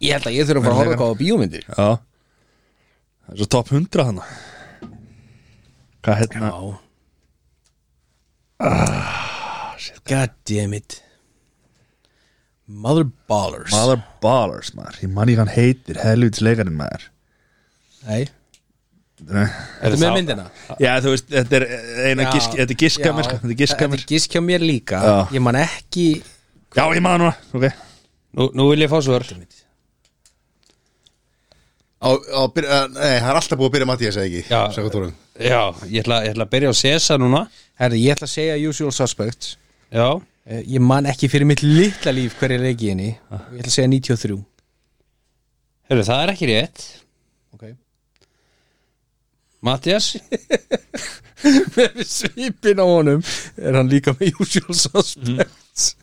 Ég held að ég þurfum að fara að horfa eitthvað á bíómyndir Já Það er svo top 100 hana Hvað hérna God damn it Mother ballers Mother Ballers maður Ég manni hann heitir helvits leikarinn maður Nei Já Þetta er með myndina þú veist Þetta er eina Já. gisk Þetta er giska Já. mér sko, Þetta er giska mér Þetta er gísk hjá mér líka Já. Ég man ekki Já ég maður núna Ok Nú, nú vil ég fá svör á, á, byrja, eh, Nei, það er alltaf búið að byrja Mattias eða ekki Já. Samkvæmt honum. Já, ég ætla, ég ætla að byrja á Sesa núna Herri, ég ætla að segja Usual Suspects Já, Eh, Ég man ekki fyrir mitt litla líf hverja leik í henni Ah. Ég ætla að segja 93 heyrðu, það er ekki rétt okay. Mattias, (laughs) Með svipin á honum er hann líka með Usual Mm. Suspects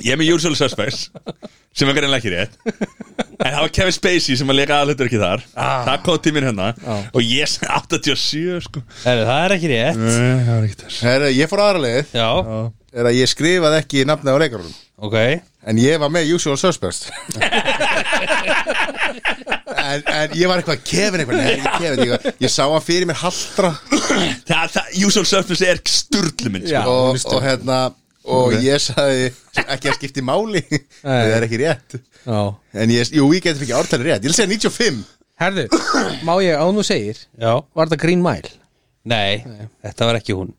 Ég er með Usual Suspects sem er greinlega ekki rétt en það var Kevin Spacey sem að leika aðlutur ekki þar það kom tíminn hennar og ég yes, 87 sko heyrðu, það er ekki rétt Nei, það var ekki þess Herra, Ég fór aðra leið Já, er að ég skrifaði ekki nafnið á leikarunum ok En ég var með Usual Suspects (laughs) en, en ég var eitthvað Kevin eitthvað, nei, ekki Kevin ég, ég sá hann fyrir mér haldra það, það, Usual Suspects er sturlu minn sko. Já. og, og hérna og ég sagði ekki að skipti máli (laughs) það er ekki rétt Já en ég, jú, ég getur ekki ártali rétt ég vil segja 95 Herðu, má ég án og segir Já, Var þetta Green Mile? nei, þetta var ekki hún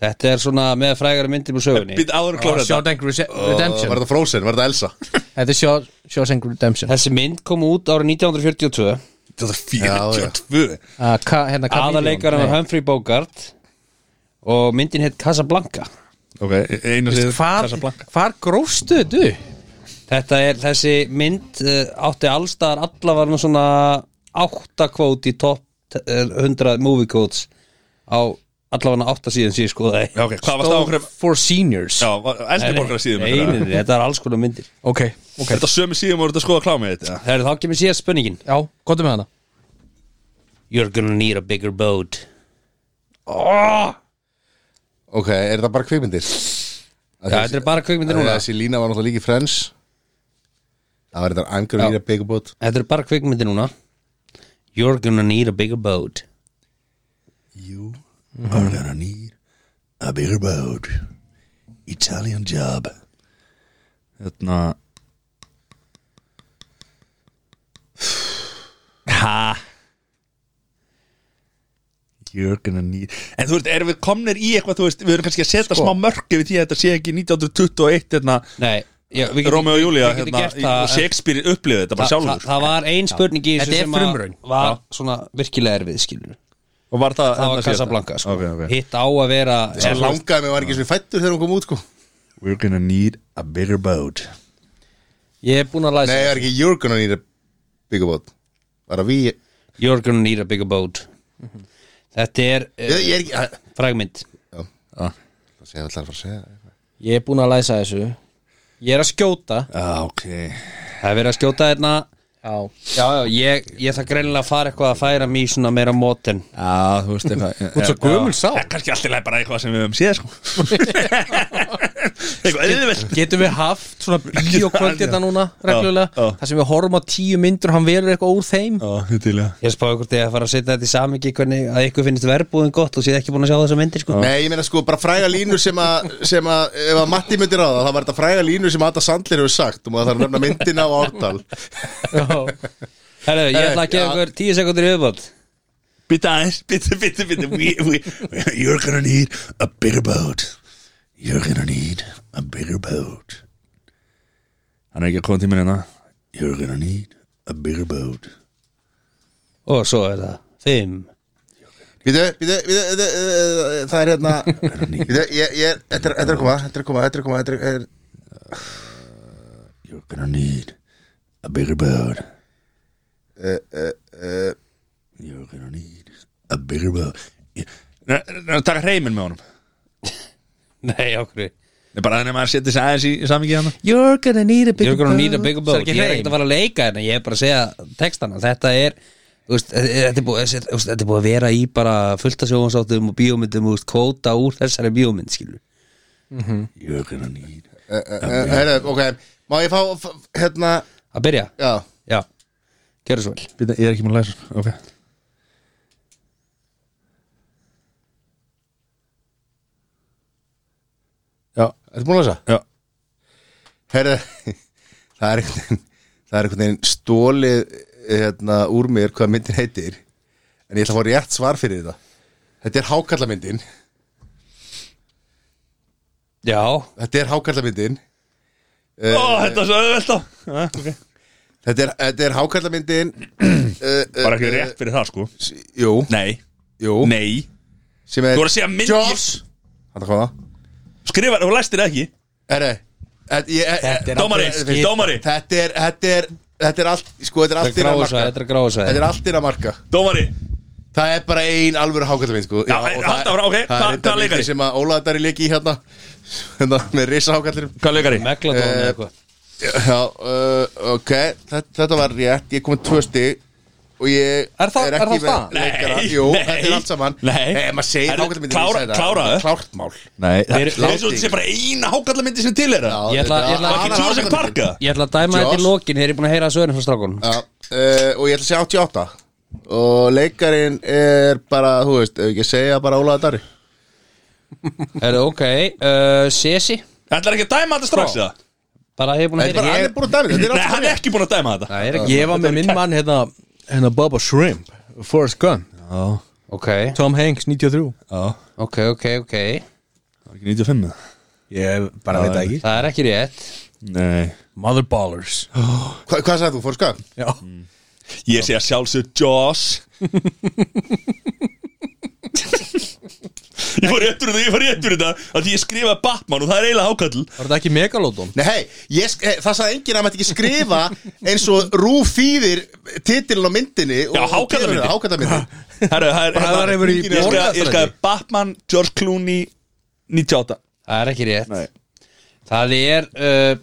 Þetta er svona með frægari myndir úr sögunni Býtt áður að klára þetta Shawshank Rese- og Redemption var það Frozen, var það (laughs) Elsa Þetta er Shaw- Shawshank Redemption Þessi mynd kom út árið 1942 Þetta er Já, já. 42 Ah, ka- hérna, Chameleon. Aðarleikarinn var Humphrey Bogart Og myndin heitt Casablanca ok, einu Nei. hlið Hvar, hvar gróstu þetta? upp? Þetta er, þessi mynd uh, átti allstaðar allavega með svona átta kvót í topp eh, 100 movie quotes á allavega átta síðan síðan skoðaði Já, ok, hvað varst það okkur For seniors Já, var- eldri borgara síðum Nei, nei, nei, þetta er alls konar myndir Ok, ok Þetta sömu síðum voru þetta að skoða klámið þetta Það er þá kemur síðan spönningin Já, gott með hana You're gonna need a bigger boat ok, er það bara kvikmyndir? Já, þetta er bara kvikmyndir núna þessi lína var náttúrulega líki Friends það var þetta I'm gonna Já. need a big boat Þetta er bara kvikmyndir núna You're gonna need a bigger boat you are gonna need a bigger boat Italian job Hérna Ha You're gonna need En þú veist, erum við komnir í eitthvað þú veist, Við erum kannski að setja Sko. smá mörki við því að þetta sé ekki 1921 hérna, Nei, já, við getum- Rómi og Júlia við getum hérna, gert í- það, og Shakespeare upplifði þetta bara það, það, sjálfur það var ein spurning í þessu Þetta er sem að frumraun. var svona virkilega erfið skilur Og var það, það hérna var síðasta? Casablanca sko. Ok, ok. hitt á að vera Svo langaði mig var ekki sem ég fættur þegar hún kom út sko We're gonna need a bigger boat ég er búin að læsa Nei, það er ekki You're gonna need a bigger boat Bara við Ég, you're gonna need a bigger boat þetta er uh, ég er ekki að- fragmynd ah. Það segja alltaf að fara að segja Ég er búin að læsa þessu Ég er að skjóta ah, ok það er verið að skjóta þarna Já, já, já, ég, ég það greinilega að fara eitthvað að færa mig í svona meira mótin Ah, Já, þú veist eitthvað Þú svo gömul sál. Það er kannski alltaf bara eitthvað sem við höfum (laughs) séð sko. Eitthvað auðvelt Getum við haft (laughs) svona bíókvöld þetta hérna núna reglulega Já, já. Það sem við horfum á tíu myndur og hann velur eitthvað úr þeim Já, þetta til ég ég spáði hvort ég að fara að setja þetta í samingi hvernig að ykkur finnst verðbúðin gott og séð ekki búin að sjá þessa myndir sko. Nei, ég meina sko bara fræga línur sem að sem að, ef að Matti myndir á það þá var þetta fræga línur sem Adam Sandler hefur sagt og maður þarf að nefna myndina á ártal Herru, ég ætla að gefa já. ykkur tíu sekundir í viðbót Bitta aðeins, bitta, bitta, bitta we, we, You're gonna need a bigger boat You're gonna need a bigger boat Hann er ekki að koma tíminn hérna You're gonna need a bigger boat og svo er það fimm Býtu, býtu, býtu eh, eh, Það er hérna Býtu, ég, ég, er- þetta er þetta er að koma Þetta er að koma, þetta er að koma Þetta er, er- You're gonna need a bigger boat You're gonna need a bigger boat Það er að taka hreiminn með honum nei, okkur Nei, bara þannig að maður setja sig aðeins í, hérna. í samingi hann You're gonna need a big You're gonna need a bigger boat ekki Ég er hrein. ekkert að fara að leika hérna Ég er bara að segja textana Þetta er þú veist, e, Þetta er búið þessi- þú veist, þetta er búið að vera í bara fullt af sjóhansáttum og bíómyndum og þú veist, kvóta úr þessari bíómynd skilur You're gonna need eh, eh, Herra, ok Má ég fá f- hérna að byrja Já, já, gerðu svo vel Býta, ég er ekki múin að læsa Ok Já, ertu búin að lesa? já Herðu, (laughs) það er einhvern veginn það er einhvern veginn stólið hérna, úr mér hvað myndin heitir en ég ætla að fá rétt svar fyrir þetta Þetta er hákallamyndin já, Þetta er hákallamyndin Ó, þetta er svo auðvelt Þetta er, þetta er hákallamyndin Bara ekki rétt fyrir það sko Jú, Eh, Nei, jú nei sem er Þú voru að segja mynd Jaws Þetta kom það Skrifa, þú læstir það ekki Herðu, þetta eh, ég- eh, Þetta er Dómari, alveg skýrt. dómari, Þetta er, þetta er Þetta er allt, sko, þetta er allt þetta er innan gráðsvæði marka þetta er Eh, gráðsvæði Þetta er allt innan marka dómari Það er bara ein alvöru hákallamynd sko. Já, og en það- halda áfram, ok. Það Hvað- er þetta hvaða leikari? myndi sem að Ólaðar er leiki í hérna (laughs) hérna, með risa hákallir Hvað leikari? megladón eða Eh, eitthvað Já, uh, ok, þetta, þetta var rétt Ég kom með tvö stig og ég Er það- er ekki það með það? Nei, leikara. Jú, nei. þetta er allt saman Nei. Eh, maður segir Herru, hákallamynd klára- kláraðu. Klárt mál Nei, það er Þeir- svo þetta sé bara eina hákallamyndi sem til er það Ég ætla- ég ætla- Það er ekki Jurassic Park eða? ég ætla að dæma þetta í Jaws. lokin þegar ég er búin að heyra sögurinn frá strákunum Já, uh, og ég ætla að segja 88 og leikarinn er bara, þú veist, ef ekki að segja bara Ólaða Dari er það ok, uh, Sesi Ætlar ekki að dæma þetta strax eða? bara hefur búin að Þetta er bara, heyra hann er ég- búin að Dari, þetta er Nei, allt hann er ekki búin að dæma þetta það er ekki, Ég var með minn mann hérna, eh, hérna Bubba Shrimp Forrest Gun ok, Tom Hanks 93 Já, ok, ok, ok það er ekki 95 eða? Ég bara veit það ekki það er ekki rétt Nei Mother Ballers Hva, hvað sagði þú, Forska? Já Ég segja sjálfsög Jaws Ég fór rétt fyrir þetta, ég fór rétt fyrir þetta af Því ég skrifa Batman og það er eiginlega hákall Var þetta ekki Megalodon? Nei, hei, ég, sk- eh, það sagði enginn að maður ekki skrifa eins og Rúf þýðir titilin á myndinni og- Já, og hákarlamyndin. gefur það, Hákarlamyndin Herru, það er Bræðar hérna- hefur í Ég skrifa- Ég borgarstræti. skrifa Batman, George Clooney 98 það er ekki rétt Nei. það er uh,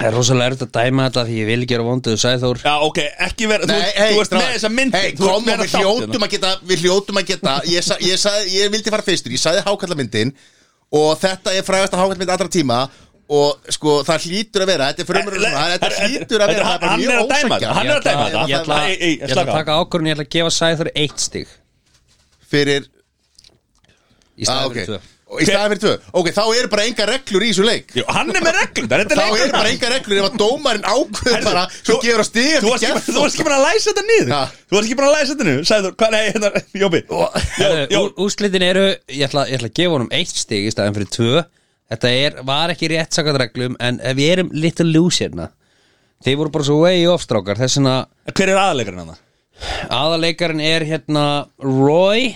það er rosalega erfitt að dæma þetta því ég vil gera vonduðu sæðþór Já, ok, ekki vera Þú, Nei, hei, þú ert með þessa myndi Hei, þú ert kom með og við þessa þáttina. hljótum að geta Við hljótum að geta Ég, sa, ég, sagði, ég vildi fara fyrstur, ég sagði hákallamyndin Og þetta er frægast að hákallamynd allra tíma Og sko, það hlýtur að vera Þetta er Eh, frumur um Þetta hlýtur að vera það bara Hann mjög er að dæma ósanngjarnt. þetta, hann er að dæma þetta ég ætla Ei, ei, ég ætla að slaka á. taka ákvörðun ég ætla að gefa sæður eitt stig Fyrir í ah, staðar okay. fyrir tvö Og Í staðan fyrir tvö Ok, þá eru bara enga reglur í þessu leik Jú, Hann er með reglum, það er Þá þetta eru leikur bara enga reglur Ef að dómarinn ákveður Herðu, bara Svo þú- gefur að stiga Þú varst ekki- þú varst ekki bara að læsa þetta niður Ha. Þú varst ekki bara að læsa þetta niður Sæður, hvað, nei, hérna, Jóbi Jó, Herru, Jó, ú- Úrslitin eru, ég ætla, ég ætla að gefa honum eitt stig í staðan fyrir tvö Þetta er, var ekki rétt sakat reglum En ef við erum little loose hérna Þeir voru bara svo way off strákar Þess vegna hver er aðleikarinn hann? aðaleikarinn er hérna (laughs) Roy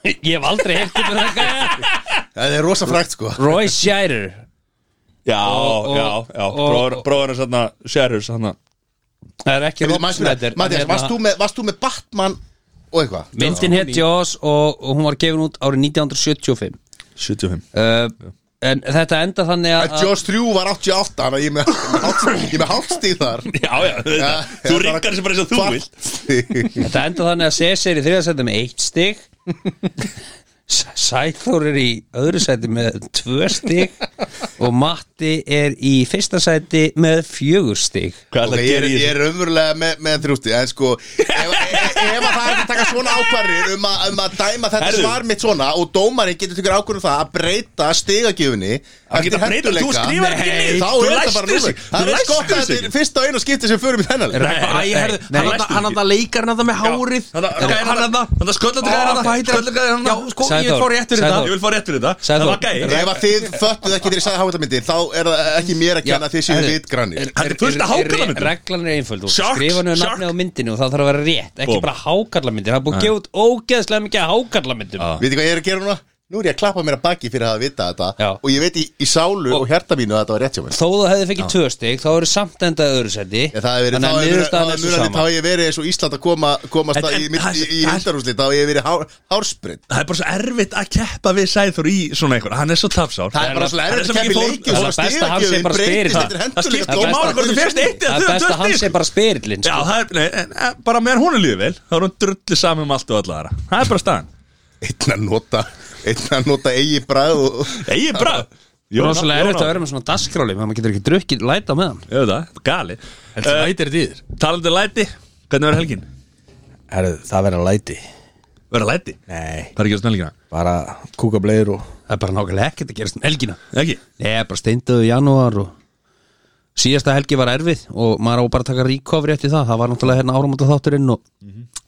Ég hef aldrei hefði um fyrir það gæja Það er rosa frægt sko Roy Shirer Já, Og- og- já, já, og- og- bróðurinn sann að Sérhurs hann að Það er ekki Rob Snyder, en Mattias, hérna- varst þú með- varst þú með Batman og eitthvað? Myndin hétt Jaws og, og hún var gefin út árið 1975 75 uh, En þetta enda þannig En að Jaws 3 var 88 Þannig að ég er með, með hálft- ég er með hálfstíð þar Já, já, þú veit það. þú ringar þessu bara eins og þú vilt vilt Þetta enda þannig að Cesar í þriða seti með eitt stig S- Sæþór er í öðru seti með tvö stig og Matti er í fyrsta seti með fjögur stig Hvað ætla að okay, ég, er, gera í ég þessu? er umverulega með, með þrjústi En sko Ef, ef, ef að það er að taka svona ákvarðir um, að- um að dæma þetta Herðu. svar mitt svona Og dómarinn getur tökur ákvarður það Að breyta stigagjöfunni Hann geta breyta, þú skrifar ekki Nei, niður þá Þú er þetta læstir bara þessu númer Það er skott að þetta er fyrsta og eina skipti sem förum í þennan leik. Æ, Nei, herðu, nei, hann nei, að hann að leikarna það með hárið Hann að það Þannig að sköldlega Ó, hvað heitir hann? Já, sko, ég Sæþór, fór rétt fyrir Sæþór. þetta Ég vil fá rétt fyrir þetta Sæður Það þú? var gæi Ef að þið föttuð ekki þegar ég sagði hákallamyndin Þá er það ekki mér að Já, kenna að þið séu herðu, vitgrannir Þetta er fullt af er- er- hákarlamyndum. Reglan er einföld, þú Shark, skrifa nú shark. nafni á myndinu og það þarf að vera rétt ekki Búmm. bara hákarlamyndir, það er búið Ah. að gefa út ógeðslega mikið af hákarlamyndum Já. Vitið hvað ég er að gera núna? Nú er ég að klappa mér að baki fyrir að hafa vitað þetta Já. Og ég veit í, í sálu og, hjarta mínu að þetta var rétt hjá mér Þó þú hefði Ah. fengið tvö stig, þá eru samt endað öðru seti Ég, það hefur verið, Þannig þá að hefur verið, þá niðurstaðan er hefur svo verið, þá sama hefur verið eins og Ísland að koma, komast En- en, í, en mitt, það- í, í það- hundarúsli, þá hefur verið hár, hársprit. Það er bara svo erfitt að keppa við Sæður í svona einhver Hann er svo tapsár Það er bara svo hann erfitt svo að keppa í mikið fór- leiki sko. og Það svo er best að hann sé stigagjöfin bara breytist spyrill. eftir Það hendur skiptir ekki best máli hvort þú fyrst eitt eða Það er tvö best að hann stig. sé bara sko. spyrillin Já, það er, nei, en, en, bara meðan hún er lífið vel þá er hún drullu saman um allt og alla aðra Það er bara staðan Einn að nota, einn að nota eigi bræð og... (laughs) Egið brað Rósalega erfitt að Jón- vera með svona dasgráli maður getur ekki drukkið læta með hann Ég veit það, þetta er gali Heldur Eh, læti er dýðir Talandi um læti, hvernig verður helgin? Herðu, það verða læti Verður læti? Nei, Hvað er að gerast um helgina? bara kúka bleiður og Það er bara nákvæmlega ekkert að gerast um helgina Ekki? Nei, bara steinduðu í janúar og síðasta helgi var erfið og maður á bara að taka recovery eftir það það var náttúrulega hérna áramóta þátturinn og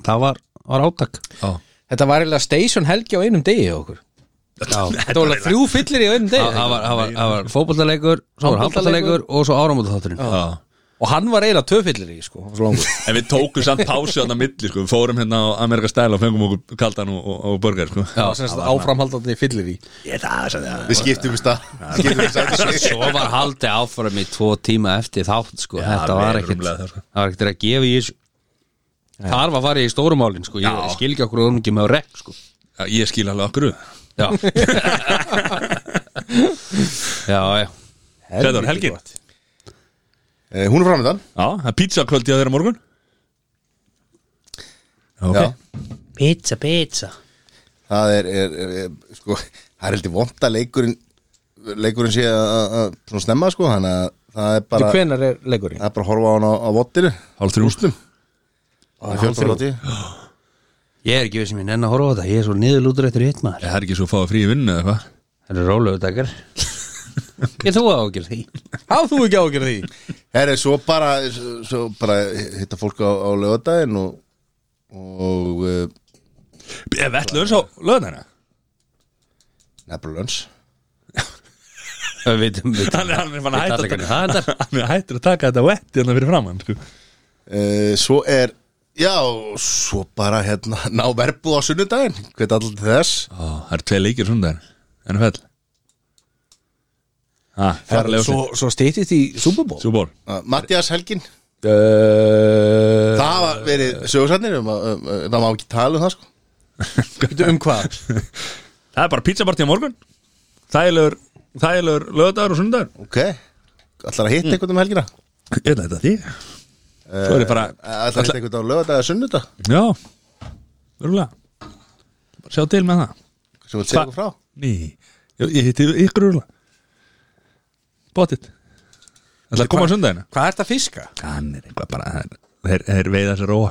það var, var átak Já Þetta var eiginlega station helgi á einum degi hjá okkur Þetta var alveg þrjú fyllir í á einum Það degi það var, það var, það var fótboltaleikur, svo var Handboltaleikur. handboltaleikur og svo áramóta þátturinn Já Og hann var eiginlega tvö fyllir í sko, hann var svo langur En við tókum samt pásu þarna á milli sko Við fórum hérna á Amerika Stæla og fengum okkur kaldan og, og, og burger sko Það var sem sagt áframhaldandi fyllir í Ég það er sannig Við skiptum í stað Skiptum í stað Svo var haldið áfram í tvo tíma eftir þátt sko. Já, Þetta var meira ekkert rúmlega það, sko. Það var ekkert að gefa í þessu Þar var farið í stórumálin sko. Ég Já. skil ekki okkur um ekki með rekk sko. að Ég skil alveg okkur (laughs) Já Já, já Þetta var helgin Já, Eh, Hún er framöndan það er pizza kvöldi að þeirra morgun Ok Já. Pizza, pizza Það er, er, er, er sko, það er heldur vonda leikurinn leikurinn sé að- að að svona snemma sko, þannig að það er bara Þetta hvenar er leikurinn? það er bara að horfa á hann á, á vottinu Hálf þrjú Ústum Það er 14 votti Ég er ekki við sem ég nenn að horfa á þetta Ég er svo niðurlútur eftir hitt maður Það er ekki svo að fá að frí í vinnu eða eitthvað Það eru rólegu dagar (laughs) Ég þú á ekki því Há þú ekki ágjörð því? Herri, svo bara, svo- svo bara hitta fólk á, á lögadaginn og, og eh, Ef ætluðu eins á löðana nefnir lönns Við vitum við Hann er hann er fann að Veit hætta að taka allir hvernig það endar. (laughs) Hann er hættur að taka þetta vetti hérna fyrir framann sko uh, Svo er Já, svo bara hérna (laughs) ná verbuð á sunnudaginn, hvað er allir til þess Ó, það eru tvei leikir sundar NFL Ha, ferlega Svo, svo svo stýttist í Super Bowl Súbor uh, Mattias Helgin, uh, það var verið sögursætnir um, að- um, um, það má ekki tala um það sko Um hvað? Það er bara pizzapartí á morgun Þægilegur, þægilegur lögðar og sundar Ok, ætlar að hitta einhvern um helgina Ég ætla þetta því Svo er ég bara Ætlar að hitta einhvern á lögadag eða sunnudag Já, verulega Bara Sjá til með það sem vil segja okkur frá Ný, ég, ég hitti ykkur verulega Bóttið Það er að koma á sundagina Hvað ert að fiska? Hann er eitthvað bara hann- Þeir, þeir veiða sér róa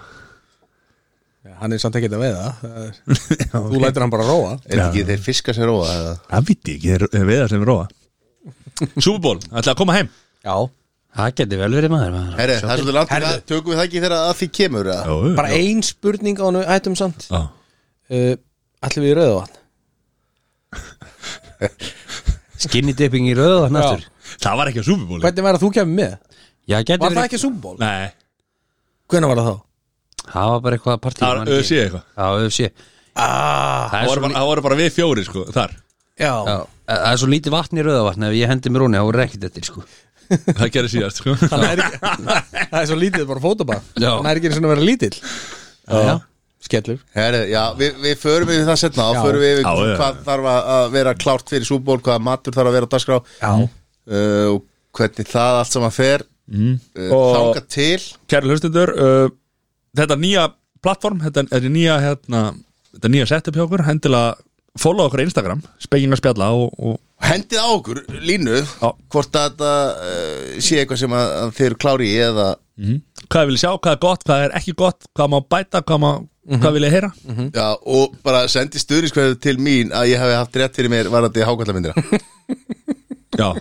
Hann er samt ekkert að veiða það er- (laughs) Já, Þú ok. lætur hann bara róa Er þetta ekki þeir fiska sér óa eða? Það viti ekki, þeir- þeir veiða sem róa Súbúból, ætla að koma heim Já, Það geti vel verið maður, maður. Herri, það er svolítið langt í það Tökum við það ekki þegar að því kemur eða? Jó, bara já. ein spurning á hann Ættum samt Já. uh, Ætlum við í rauða vatn Skinny dipping í rauða nættur Það var ekki á súbúbóli Hvernig var að þú kemur með? Já, geti Var það verið ekki Super Bowl? Nei, Hvernig var það þá? Það var bara eitthvað partí það var öðsí eitthvað Það var öfsí Ah, Það Það er voru svo bara, það voru bara við fjóri sko, þar já, Já, það er svo lítið vatn í rauðavatn ef ég hendi mér honi á rekkit eftir sko. Það gerði síðast (laughs) sko Það, er ekki, (laughs) það er svo lítið bara fótabað Já. Það er ekki eins og að vera lítill Já. Skellur Herri, já, við, við förum við það setna Já. og förum við yfir Já, já. hvað þarf að að vera klárt fyrir súból hvaða matur þarf að vera á dagskrá Já. uh, og hvernig það allt saman fer mm. uh, Og- þanga til Kæri hlustundur uh, Þetta nýja plattform Þetta þetta er nýja, hérna, þetta er nýja setup hjá okkur Hendilega follow okkur á Instagram Spegging að spjalla og, og hendið á okkur línu hvort að þetta uh, sé eitthvað sem að, að þeir eru klári í eða hvað vil ég sjá, hvað er gott, hvað er ekki gott Hvað má bæta, hvað, má, hvað vil ég heyra já, og bara sendi stuðningskvæðu til mín að ég hafi haft rétt fyrir mér varandi hákallamindina Já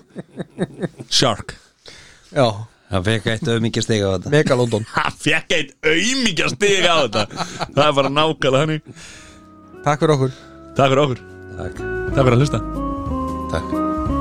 Shark Já, Það fekk eitt auðmikið steg á þetta megalóndon Hann fekk eitt auðmíkja stig á þetta Það er bara nákvæmlega hannig Takk fyrir okkur Takk fyrir okkur Takk Takk fyrir að hlusta takk